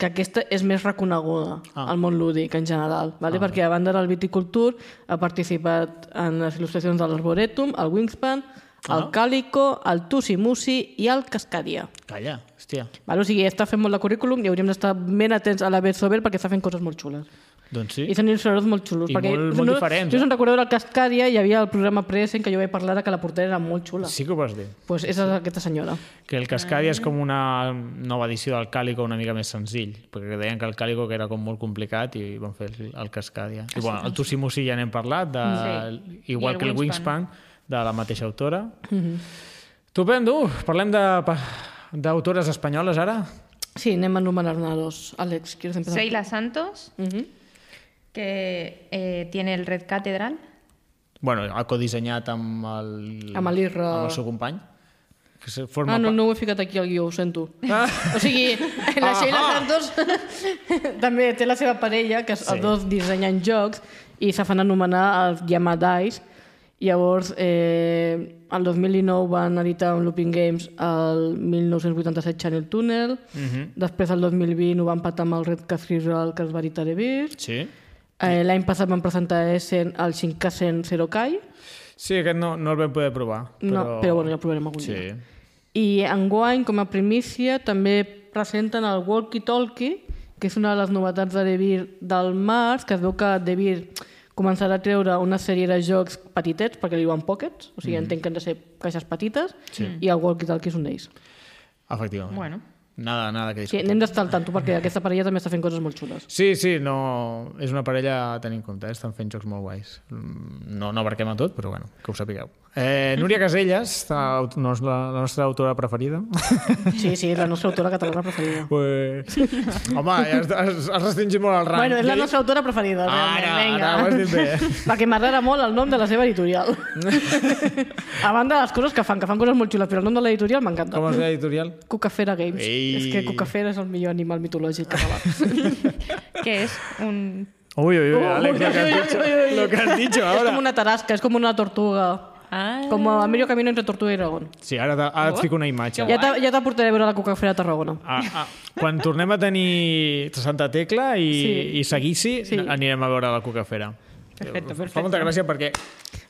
S3: que aquesta és més reconeguda
S1: Ah.
S3: ah. al món lúdic en general, vale? ah. perquè a banda del viticultur ha participat en les il·lustracions de l'Arboretum, el Wingspan, el
S1: Ah.
S3: Calico, el Tusi Musi i el Cascadia.
S1: Calla, hòstia.
S3: Vale? O sigui, està fent molt de currículum i hauríem d'estar ben atents a la Beth Sobel perquè està fent coses molt xules.
S1: Doncs sí.
S3: I són il·lustradors molt xulos.
S1: I
S3: perquè
S1: molt- molt
S3: no,
S1: diferents,
S3: Jo
S1: eh?
S3: se'n recordo del Cascadia hi havia el programa Press en què jo vaig parlar de que la portera era molt xula.
S1: Sí que ho vas dir.
S3: Doncs pues és aquesta senyora.
S1: Que el Cascadia és com una nova edició del Càlico una mica més senzill, perquè deien que el Càlico que era com molt complicat i van fer el, el Cascadia.
S3: Ah,
S1: I bueno, el Tussimussi ja n'hem parlat, de, sí.
S2: Sí.
S1: igual
S2: I el
S1: que el Wingspan,
S2: Wingspan.
S1: de la mateixa autora. Mm
S3: Mhm.
S1: -hmm. Tupendo, parlem de pa- d'autores espanyoles ara?
S3: Sí, anem a anomenar-ne dos. Àlex, ¿quieres empezar?
S2: Seila Santos,
S3: Ujú.
S2: que eh, tiene el Red Catedral.
S1: Bueno, ha codissenyat amb el...
S3: Amb l'Irra.
S1: Amb el seu company. Que se forma
S3: Ah, no,
S1: pa-
S3: no ho he ficat aquí al guió, ho sento. Ah. O sigui, la Sheila Santos també té la seva parella, que sí.
S1: Sí.
S3: els dos dissenyen jocs i se fan anomenar els Yamadais. Llavors, eh, el 2019 van editar un Looping Games el 1987 Channel Tunnel, mm -hmm. després el 2020 ho van patar amb el Red Cathedral que es va editar a Birch,
S1: Sí.
S3: eh, l'any passat van presentar a Essen el Shinkansen Serokai,
S1: Sí, aquest no, no el vam poder provar. Però...
S3: però... No, però bueno, ja el provarem algun dia.
S1: Sí.
S3: I enguany, com a primícia, també presenten el Walkie Talkie, que és una de les novetats de Devir del març, que es veu que Devir començarà a treure una sèrie de jocs petitets, perquè li diuen pockets, o sigui,
S1: Mm-hmm.
S3: mm. entenc que han de ser caixes petites, sí. i el Walkie Talkie és un d'ells.
S1: Efectivament.
S2: Bueno.
S1: Nada, nada que
S3: O sigui,
S1: discutir.
S3: n'hem d'estar al tanto, perquè aquesta parella també està fent coses molt xules.
S1: Sí, sí, no... és una parella a tenir en compte, eh? estan fent jocs molt guais. Mm, No, no abarquem a tot, però bueno, que ho sapigueu. Eh, Núria Caselles, la, no és la, la nostra autora preferida.
S3: Sí, sí, la nostra autora catalana preferida.
S1: Pues... Home, has, has, has restringit molt el rang.
S3: Bueno, és la
S1: Jo-
S3: nostra autora preferida,
S1: Ara,
S3: realment, vinga.
S1: ara ho has dit bé.
S3: Perquè m'agrada molt el nom de la seva editorial. a banda de les coses que fan, que fan coses molt xules, però el nom de l'editorial m'encanta.
S1: Com es deia editorial?
S3: Cucafera Games.
S1: Ei.
S3: És que Cucafera és el millor animal mitològic català.
S2: que es un
S1: Ui, ui, ui, Àlex, lo
S3: Ui,
S1: que has
S3: ui, ui,
S1: dicho,
S3: ui, ui.
S1: lo que has dicho
S3: és
S1: ahora.
S3: com una tarasca, és com una tortuga.
S2: Ah.
S3: Com a medio camino entre tortuga i dragón.
S1: Sí, ara, te- ara et fico una imatge.
S3: Ja te- ja t'aportaré a veure la Cucafera a Tarragona.
S1: Ah, ah, quan tornem a tenir Santa Tecla i, sí.
S3: Sí.
S1: i Seguici, sí.
S3: Sí.
S1: anirem a veure la cucafera. Perfecte, perfecte. Fa molta gràcia perquè...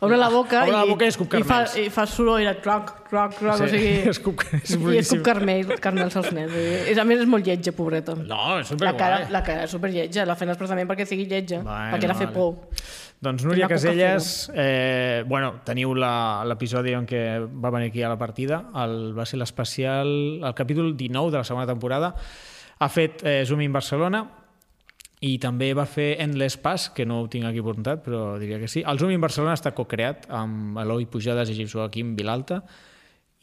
S3: Obre la boca,
S1: Ah, Obre la
S3: i,
S1: boca i escup
S3: i, fa,
S1: carmels.
S3: i fa soroll de troc, troc, troc, sí. o sigui...
S1: és cuc... és
S3: I és
S1: boníssim.
S3: com carmel, carmels als nens. vull dir. És, a més, és molt lletja, pobreta.
S1: No, és
S3: la,
S1: superguai.
S3: cara, la cara és superlletja, la fent expressament perquè sigui lletja,
S1: Bueno,
S3: perquè era fer
S1: vale.
S3: por.
S1: Doncs Núria
S3: Té una
S1: Caselles, eh, bueno, teniu la- l'episodi en què va venir aquí a la partida, el, va ser l'especial, el capítol 19 de la segona temporada, ha fet eh, Zoom in Barcelona i també va fer Endless Pass, que no ho tinc aquí apuntat, però diria que sí. El Zoom in Barcelona està co-creat amb Eloi Pujades i Gipsuà Quim Vilalta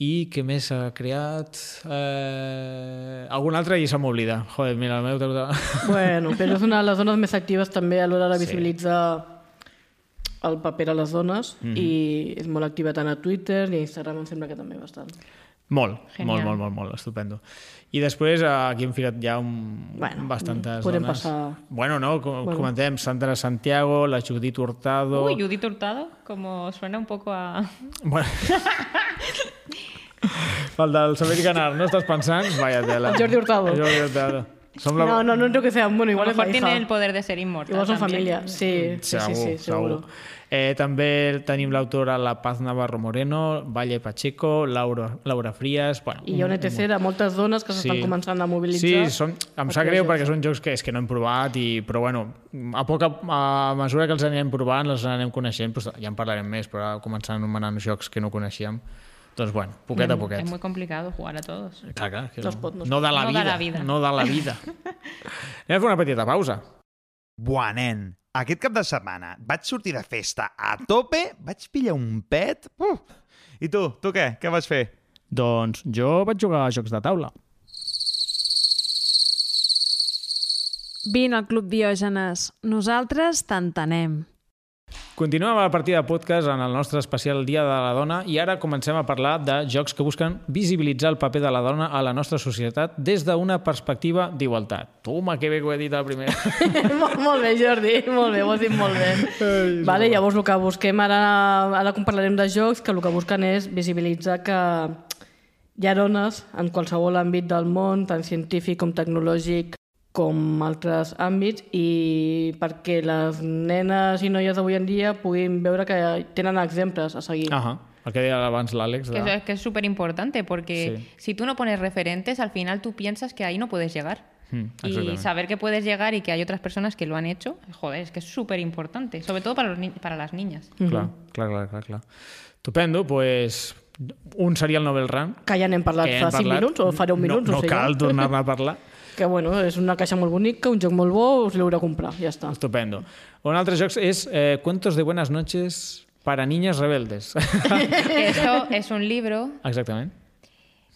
S1: i què més ha creat? Eh... Algun altre i se m'oblida. Joder, mira, la meva...
S3: Bueno, però és una de les zones més actives també a l'hora de visibilitzar el paper a les dones i és molt activa tant a Twitter i a Instagram em sembla que també bastant.
S1: Molt, molt,
S2: Genial.
S1: molt, molt, molt, estupendo. I després eh, aquí hem ficat ja un, bueno,
S3: Bueno,
S1: bastantes
S3: podem
S1: dones.
S3: passar-
S1: Bueno, no, com, bueno. comentem, Sandra Santiago, la Judit Hurtado...
S2: Uy, Judith Hurtado, como suena un poco a...
S1: Bueno. El del saber ganar, no estàs pensant? Vaya tela.
S3: El Jordi Hurtado.
S1: El Jordi Hurtado. Som la...
S3: No, no, no creo que sea, bueno,
S2: A lo
S3: igual es la
S2: mejor
S3: hija.
S2: tiene el poder de ser inmortal.
S3: Igual son
S2: también.
S3: família, sí, sí, sí,
S1: Segur,
S3: sí, seguro.
S1: Eh, també tenim l'autora La Paz Navarro Moreno, Valle Pacheco, Laura, Laura Frías... Bueno,
S3: I hi ha una ETC de moltes dones que s'estan començant a mobilitzar.
S1: Mm, Sí, són, em sap greu perquè són jocs que és que no hem provat, i, però bueno, a poc a, a mesura que els anem provant, els anem coneixent, doncs ja en parlarem més, però ara començar anomenant jocs que no coneixíem, doncs bueno, poquet a poquet.
S2: Mm, Es muy complicado jugar a todos.
S1: Clar, clar, que
S3: No es Mm, pot, no es
S1: no de la
S2: No
S1: vida.
S2: de la vida.
S1: No de la vida. anem a fer una petita pausa.
S5: Buah, nen, aquest cap de setmana vaig sortir de festa a tope, vaig pillar un pet... Uh! I tu, tu què? Què vas fer?
S1: Doncs jo vaig jugar a jocs de taula.
S6: Vine al Club Diògenes, nosaltres t'entenem.
S1: Continuem amb la partida de podcast en el nostre especial Dia de la Dona i ara comencem a parlar de jocs que busquen visibilitzar el paper de la dona a la nostra societat des d'una perspectiva d'igualtat. Toma, que bé que ho he dit al primer.
S3: molt, molt bé, Jordi, molt bé, ho has dit molt bé. Vale, llavors el que busquem ara, ara com parlarem de jocs, que el que busquen és visibilitzar que hi ha dones en qualsevol àmbit del món, tant científic com tecnològic, com altres àmbits, i perquè les nenes i noies d'avui en dia puguin veure que tenen exemples a seguir.
S1: Ahà, el que deia abans l'Àlex.
S2: Que eso
S1: De...
S2: es que es súper importante porque
S1: Sí.
S2: si tú no pones referentes, al final tú piensas que ahí no puedes llegar.
S1: Mm,
S2: y
S1: exactamente.
S2: saber que puedes llegar y que hay otras personas que lo han hecho, joder, es que es súper importante, sobre todo para, los ni- para las niñas.
S1: Clar,
S2: Mhm.
S1: clar, clar, clar, clar. Estupendo, doncs... Pues, un seria el Nobel Run,
S3: Que ja n'hem parlat
S1: que
S3: fa
S1: hem
S3: 5
S1: parlat.
S3: minuts o fa 10 minuts.
S1: No, no
S3: o sigui,
S1: cal tornar-ne a parlar.
S3: Que bueno, és una caixa molt bonica, un joc molt bo, us l'haureu de comprar, ja està.
S1: Estupendo. Un altre joc és eh, Cuentos de buenas noches para niñas rebeldes.
S2: Que Esto es un libro
S1: Exactament.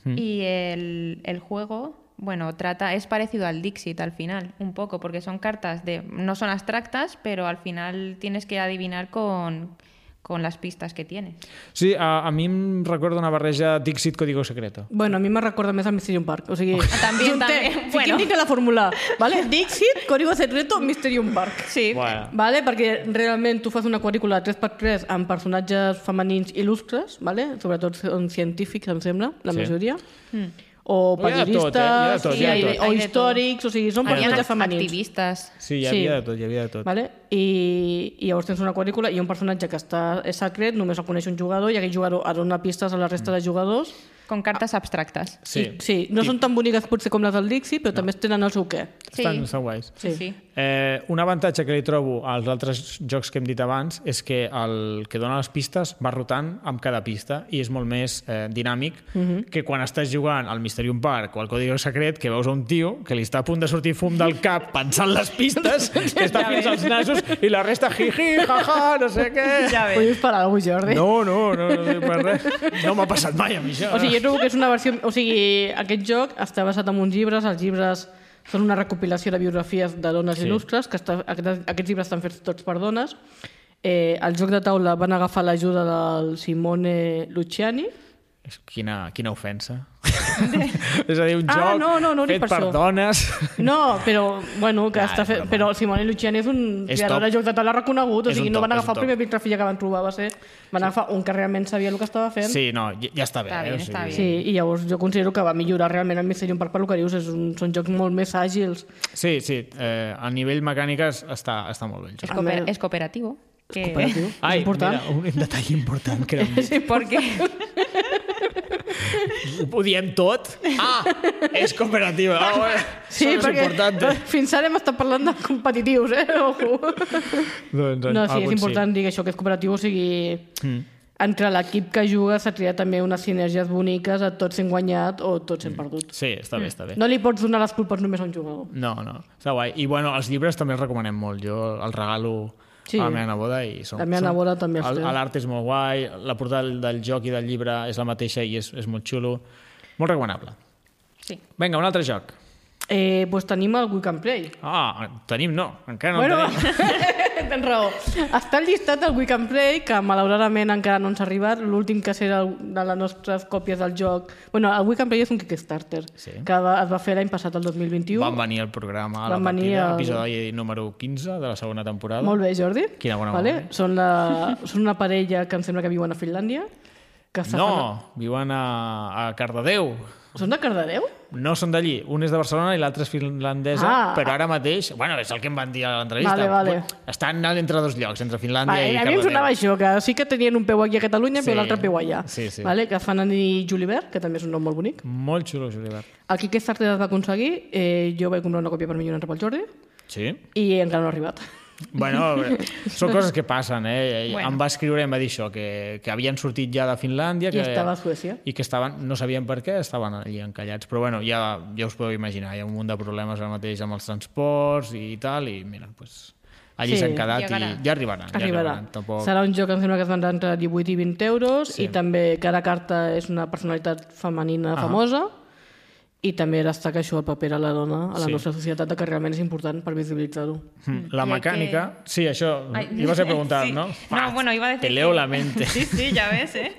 S2: y el, el juego, bueno, trata, es parecido al Dixit al final, un poco, porque son cartas de, no son abstractas, pero al final tienes que adivinar con, con las pistas que tienes.
S1: Sí, a, a mi em recorda una barreja Dixit Código Secreto.
S3: Bueno, a mi me recorda més a Mysterium Park. O sigui,
S2: También,
S3: junté-
S2: también,
S3: fiquem
S2: bueno.
S3: que la fórmula, ¿vale? Dixit, Código Secreto, Mysterium Park.
S2: Sí,
S1: Bueno.
S3: Vale? Perquè realment tu fas una quadrícula 3x3 amb personatges femenins il·lustres, vale? sobretot són científics, em sembla, la
S1: Sí.
S3: majoria. O
S1: Hi ha de tot, eh? Hi ha de
S3: periodistes,
S1: tot,
S3: i-
S1: hi ha de
S3: i-
S1: tot.
S2: Hi
S3: o
S2: ha de
S3: històrics, o sigui, són
S2: Habían
S3: personatges
S2: act-
S3: femenins.
S2: activistas.
S1: Sí, hi
S3: Sí.
S1: havia de tot, hi havia de tot.
S3: Vale? I, I llavors tens una quadrícula i un personatge que està, és secret, només el coneix un jugador i aquell jugador ha de donar pistes a la
S1: Mm.
S3: resta de jugadors
S2: Con cartas abstractas.
S1: Sí,
S3: I, sí, no són tan boniques potser com les del Dixie, però també tenen el seu què.
S2: Sí.
S1: Estan, estan guais.
S2: Sí,
S3: Sí.
S2: sí.
S1: Eh, un avantatge que li trobo als altres jocs que hem dit abans és que el que dona les pistes va rotant amb cada pista i és molt més eh, dinàmic
S3: Mhm.
S1: que quan estàs jugant al Mysterium Park o al Código Secret que veus a un tio que li està a punt de sortir fum del cap pensant les pistes, que està fins als nassos i la resta jiji, jaja, no sé què. Ja
S3: Vull disparar algú, Jordi.
S1: No, no, no, no, dic per res. no m'ha passat mai a mi això.
S3: O sigui, jo trobo que és una versió... O sigui, aquest joc està basat en uns llibres, els llibres són una recopilació de biografies de dones
S1: Sí.
S3: sí. il·lustres, que està, aquest- aquests llibres estan fets tots per dones. Eh, el joc de taula van agafar l'ajuda del Simone Luciani.
S1: És- Quina, quina ofensa. és a dir, un joc
S3: Ah, no, no, no ho dic
S1: fet per,
S3: per això.
S1: dones.
S3: No, però, bueno, que
S1: Ja,
S3: està
S1: és
S3: fet...
S1: broma.
S3: Però Simone Luciani és un
S1: És
S3: creador
S1: top.
S3: de jocs de taula reconegut,
S1: És un
S3: o sigui, no
S1: top,
S3: van
S1: és
S3: agafar
S1: un
S3: el primer vitrafilla que van trobar, va ser... Van agafar un que realment sabia el que estava fent.
S1: Sí, no, ja, ja està bé.
S2: Està
S1: eh?
S2: bé,
S1: o sigui,
S2: està bé.
S3: Sí, i llavors jo considero que va millorar realment el Mysterium Park pel que dius, és un, són jocs molt més àgils.
S1: Sí, sí, eh, a nivell mecànic es- està, està molt bé el
S2: Es,
S1: joc.
S2: cooper-
S3: Amén.
S2: es cooperativo. que-
S3: Operatiu. és important.
S1: mira, un, un detall important que era...
S2: Porque
S1: ho, ho diem tot? Ah, és cooperativa. Ah, bueno,
S3: Sí,
S1: això no és
S3: perquè
S1: important.
S3: fins ara hem estat parlant de competitius, eh? Ojo.
S1: Doncs, Mm.
S3: No, sí, és
S1: alguns
S3: important dir que això que és cooperatiu, o sigui... Entre l'equip que juga s'ha triat també unes sinergies boniques, a tots hem guanyat o tots hem perdut.
S1: Sí, està bé, està Mm. bé.
S3: No li pots donar les culpes només a un jugador.
S1: No, no, està guai. I bueno, els llibres també els recomanem molt. Jo els regalo sí.
S3: Sí.
S1: a la meva neboda i són...
S3: La meva
S1: són-
S3: neboda també els
S1: el-
S3: té.
S1: L'art és molt guai, la portada del, del joc i del llibre és la mateixa i és, és molt xulo. Molt recomanable.
S2: sí.
S1: Vinga, un altre joc.
S3: Eh, doncs tenim el We Can Play.
S1: Ah, tenim no, encara no
S3: bueno,
S1: en tenim.
S3: tens raó. Està al llistat del We Can Play, que malauradament encara no ens ha arribat. L'últim que serà el- de les nostres còpies del joc... Bueno, el We Can Play és un Kickstarter,
S1: Sí.
S3: que va, es va fer l'any passat, el 2021.
S1: Van venir al programa, a la
S3: Van venir
S1: partida,
S3: al-
S1: episodi número 15 de la segona temporada.
S3: Molt bé, Jordi.
S1: Quina bona
S3: vale?
S1: memòria.
S3: Són, la, són una parella que em sembla que viuen a Finlàndia. Que se fan-
S1: No, viuen a, a Cardedeu.
S3: Són de Cardedeu?
S1: No són d'allí. Un és de Barcelona i l'altre és finlandesa,
S3: Ah.
S1: però ara mateix... Bueno, és el que em van dir a l'entrevista.
S3: Vale, vale.
S1: Estan entre dos llocs, entre Finlàndia
S3: Vale,
S1: i
S3: a mi em
S1: Cardedeu.
S3: sonava això, que sí que tenien un peu aquí a Catalunya, sí.
S1: Sí.
S3: però l'altre peu allà.
S1: Sí, sí.
S3: Vale? Que fan Annie Julibert, que també és un nom molt bonic.
S1: Molt xulo, Julibert.
S3: El Kickstarter es va aconseguir, eh, jo vaig comprar una còpia per mi i una altra pel Jordi,
S1: Sí?
S3: i encara no ha arribat.
S1: Bueno, són coses que passen, eh? Bueno.
S2: Bueno.
S1: Em va escriure i em va dir això, que, que havien sortit ja de Finlàndia...
S3: I
S1: que,
S3: estava a Suècia.
S1: I que estaven, no sabien per què, estaven allí encallats. Però bueno, ja, ja us podeu imaginar, hi ha un munt de problemes ara mateix amb els transports i tal, i mira, pues, allí
S3: Sí,
S1: s'han quedat
S2: llegarà.
S1: i ja arribaran. Ja
S3: Arribarà.
S1: arribaran. Tampoc...
S3: Serà un joc que em sembla que es vendrà entre 18 i 20 euros
S1: Sí.
S3: i també cada carta és una personalitat femenina
S1: Ah.
S3: famosa i també destaca això el paper a la dona a la
S1: Sí.
S3: sí. nostra societat, de que realment és important per visibilitzar-ho.
S1: La
S2: Y hay
S1: mecánica. Sí, eso.
S2: Ay,
S1: ibas a preguntar,
S2: sí.
S1: ¿no?
S2: No, bueno, iba a decir.
S1: Te leo
S2: que-
S1: la mente.
S2: sí, sí, ya ves, ¿eh?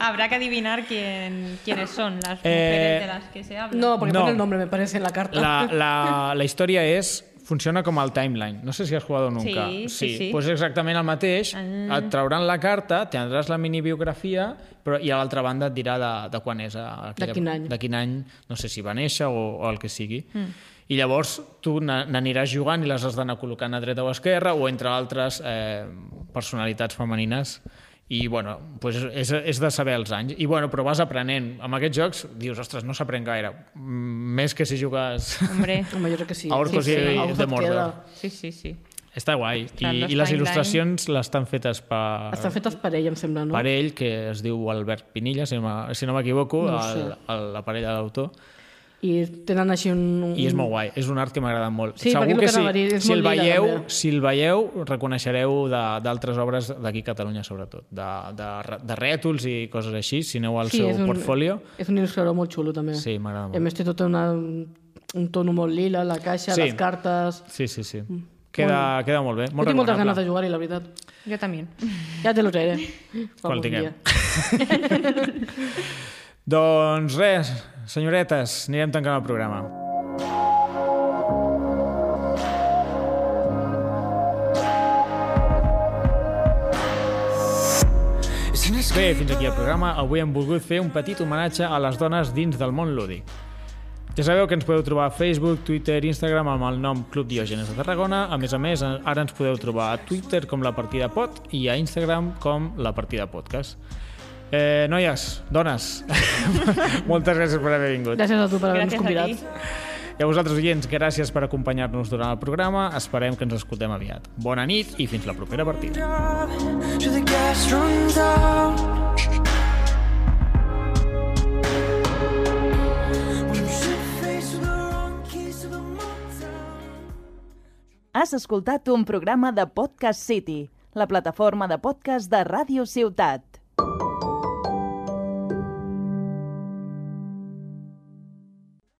S2: Habrá que adivinar quién, quiénes son las mujeres
S1: Eh,
S2: de las que se habla.
S3: No, perquè
S1: No.
S3: no. pone el nombre, me parece, en la carta.
S1: La, la, la història és funciona com el timeline. No sé si has jugat nunca.
S2: Sí, sí, sí.
S1: Pues exactament el mateix.
S2: Ah.
S1: Et trauran la carta, tindràs la minibiografia, però i a l'altra banda et dirà de, de quan és. a-
S3: De quin any.
S1: De quin any, no sé si va néixer o, o el que sigui. Mm. I llavors tu na- n'aniràs jugant i les has d'anar col·locant a dreta o a esquerra o entre altres eh, personalitats femenines i bueno, pues és, és de saber els anys i bueno, però vas aprenent amb aquests jocs dius, ostres, no s'aprèn gaire Mm, més que si jugues
S2: Hombre.
S3: Home, jo crec que sí.
S1: A Orcos
S3: sí,
S1: i- i
S3: a Orcos
S1: de
S3: et
S1: Mordor.
S3: queda.
S2: Sí, sí, sí.
S1: Està guai.
S2: Clar,
S1: I,
S2: les
S1: i les
S2: timeline.
S1: il·lustracions l'estan fetes per,
S3: Estan fetes per ell, em sembla, no?
S1: per ell, que es diu Albert Pinilla, si, no me- si no m'equivoco,
S3: No ho sé.
S1: el- el- la parella de l'autor.
S3: I tenen així un... un...
S1: I és molt guai, és un art que m'ha agradat molt.
S3: Mm. Sí, perquè
S1: Segur
S3: és el
S1: que
S3: que
S1: si,
S3: anava a dir, és
S1: si,
S3: molt
S1: el
S3: lila,
S1: veieu,
S3: també.
S1: si el veieu, reconeixereu de- d'altres obres d'aquí a Catalunya, sobretot, de, de, de rètols i coses així, si aneu al
S3: Sí,
S1: seu
S3: és un-
S1: portfolio.
S3: És un il·lustrador molt xulo, també.
S1: Sí, m'agrada
S3: I a
S1: molt.
S3: més té tot una, un tono molt lila, la caixa,
S1: Sí.
S3: sí. les cartes...
S1: Sí, sí, sí. Queda, queda molt bé.
S3: Mm. Molt
S1: Molt
S3: jo tinc moltes ganes
S1: recomanable.
S3: de jugar-hi, la veritat.
S2: Yo también.
S3: Ja te lo traeré.
S1: Quan
S3: Algun
S1: tinguem.
S3: dia.
S1: Doncs res, senyoretes, anirem tancant el programa. Bé, fins aquí el programa. Avui hem volgut fer un petit homenatge a les dones dins del món lúdic. Ja sabeu que ens podeu trobar a Facebook, Twitter, Instagram amb el nom Club Diògenes de Tarragona. A més a més, ara ens podeu trobar a Twitter com La Partida Pod i a Instagram com La Partida Podcast. Eh, noies, dones, moltes gràcies per haver vingut.
S3: Gràcies a tu per haver-nos
S2: Gracias a ti.
S3: convidat.
S1: I a vosaltres, oients, gràcies per acompanyar-nos durant el programa. Esperem que ens escoltem aviat. Bona nit i fins la propera partida.
S6: job till the gas runs out. When I'm shit-faced with the wrong keys to the motel.
S7: Has escoltat un programa de Podcast City, la plataforma de podcast de Ràdio Ciutat.